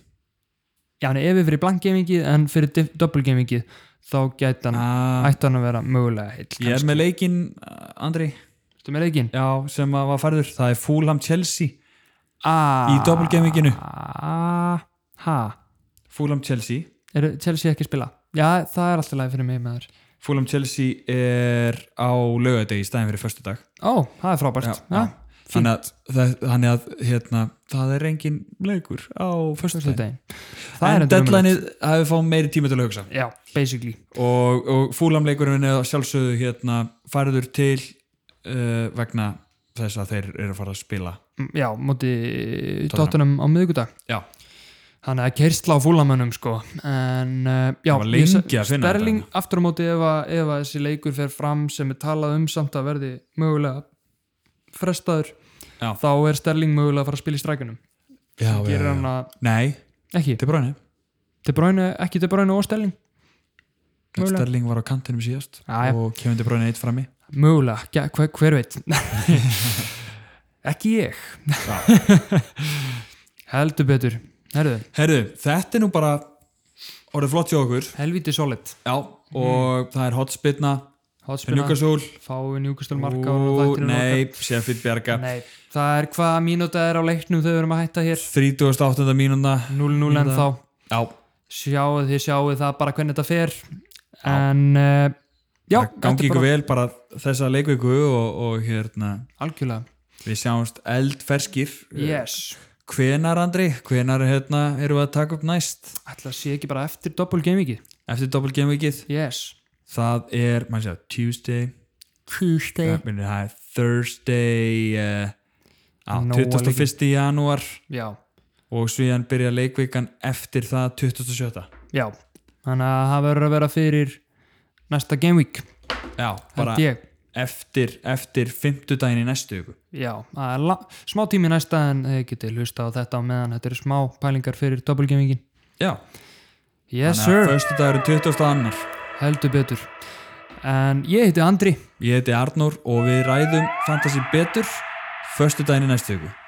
[SPEAKER 1] já, hann er evi fyrir blank gamingið en fyrir dif- double gamingið þá gæti hann
[SPEAKER 2] Ah.
[SPEAKER 1] ætti hann að vera mögulega heill
[SPEAKER 2] Ég er með leikinn, uh, Andri
[SPEAKER 1] Ertu með leikinn?
[SPEAKER 2] já, sem að var færður, það er Fulham Chelsea
[SPEAKER 1] ah,
[SPEAKER 2] Í doppelgangvikinu.
[SPEAKER 1] ah, ha,
[SPEAKER 2] Fulham Chelsea
[SPEAKER 1] eru Chelsea ekki að spila já, það er alltaf læg fyrir mig maður
[SPEAKER 2] Fulham Chelsea er á laugadegi í stæðin fyrir förstu dag
[SPEAKER 1] ó, það er frábært já, já. fínt.
[SPEAKER 2] Þannig að, það, þannig að hérna, það er engin leikur á förstu dag
[SPEAKER 1] föstudaginn. það
[SPEAKER 2] En
[SPEAKER 1] er reyndar ömurlegt.
[SPEAKER 2] deadlineið hafi fá meiri tíma til að hugsa
[SPEAKER 1] já, basically
[SPEAKER 2] og, og fúlamleikurinn er að sjálfsögðu hérna færður til uh, vegna þess að þeir eru að fara að spila
[SPEAKER 1] Mm, já, móti
[SPEAKER 2] Tottenham.
[SPEAKER 1] Tottenham á miðvíkudag
[SPEAKER 2] Já.
[SPEAKER 1] þannig að kersla á fúlamönnum sko en uh, já,
[SPEAKER 2] Það var
[SPEAKER 1] ég
[SPEAKER 2] lengi
[SPEAKER 1] sa-
[SPEAKER 2] að finna
[SPEAKER 1] Sterling aftur á móti ef að, ef að þessi leikur fer fram sem er talað um samt að verði mögulega frestaður
[SPEAKER 2] Já.
[SPEAKER 1] þá er Sterling mögulega að fara að spila í strækunum
[SPEAKER 2] já,
[SPEAKER 1] gerir hann að,
[SPEAKER 2] Nei,
[SPEAKER 1] ekki,
[SPEAKER 2] til bráni
[SPEAKER 1] De Bruyne, ekki De Bruyne og Sterling Mögulega.
[SPEAKER 2] Sterling var á kantinum síðast
[SPEAKER 1] Já, já.
[SPEAKER 2] og kemur til bráni eitt frammi
[SPEAKER 1] mögulega, ja, hver, hver veit ekki ég heldur betur herðu,
[SPEAKER 2] Herðu, þetta er nú bara orðið flott hjá okkur
[SPEAKER 1] helviti solid
[SPEAKER 2] Já, og
[SPEAKER 1] Mhm.
[SPEAKER 2] það er hotspilna
[SPEAKER 1] hotspinna,
[SPEAKER 2] Njúkasúl
[SPEAKER 1] fái njúkastul marka og þættinum
[SPEAKER 2] Nei, Sheffield Bjarga
[SPEAKER 1] okkar. nei, það er hvað mínúta er á leiknum þegar við erum að hætta hér
[SPEAKER 2] 38. mínúna
[SPEAKER 1] 0-0 en þá
[SPEAKER 2] Já,
[SPEAKER 1] sjáuð, þið sjáuð það bara hvernig þetta fer en uh, já,
[SPEAKER 2] það gangi
[SPEAKER 1] þetta er
[SPEAKER 2] ykkur
[SPEAKER 1] bara
[SPEAKER 2] vel bara þessa leikviku og, og hérna
[SPEAKER 1] algjörlega,
[SPEAKER 2] við sjáumst eldferskir
[SPEAKER 1] yes
[SPEAKER 2] hvenar Andri, hvenar hérna erum við að taka upp næst
[SPEAKER 1] ætla að sé ekki bara eftir doppul gamingið,
[SPEAKER 2] eftir Double Game Weekið
[SPEAKER 1] yes
[SPEAKER 2] það er, maður séu, Tuesday
[SPEAKER 1] Tuesday
[SPEAKER 2] það minnir það er Thursday uh, á,
[SPEAKER 1] Nóg að
[SPEAKER 2] 21. janúar
[SPEAKER 1] já,
[SPEAKER 2] og svíðan byrja leikvikan eftir það 27.
[SPEAKER 1] já, þannig að það verður að vera fyrir næsta game week
[SPEAKER 2] Já, bara
[SPEAKER 1] held ég,
[SPEAKER 2] eftir, eftir 50 daginn í næstu viku
[SPEAKER 1] já það er la- smá tími næsta en þið getið hlusta á þetta á meðan þetta eru smá pælingar fyrir doppul gamingin
[SPEAKER 2] Já,
[SPEAKER 1] yes
[SPEAKER 2] þannig að
[SPEAKER 1] sir,
[SPEAKER 2] föstu dagur 20. annar
[SPEAKER 1] heldur betur en ég heiti Andri
[SPEAKER 2] Ég heiti Arnór og við ræðum Fantasy betur föstu daginn í næstu viku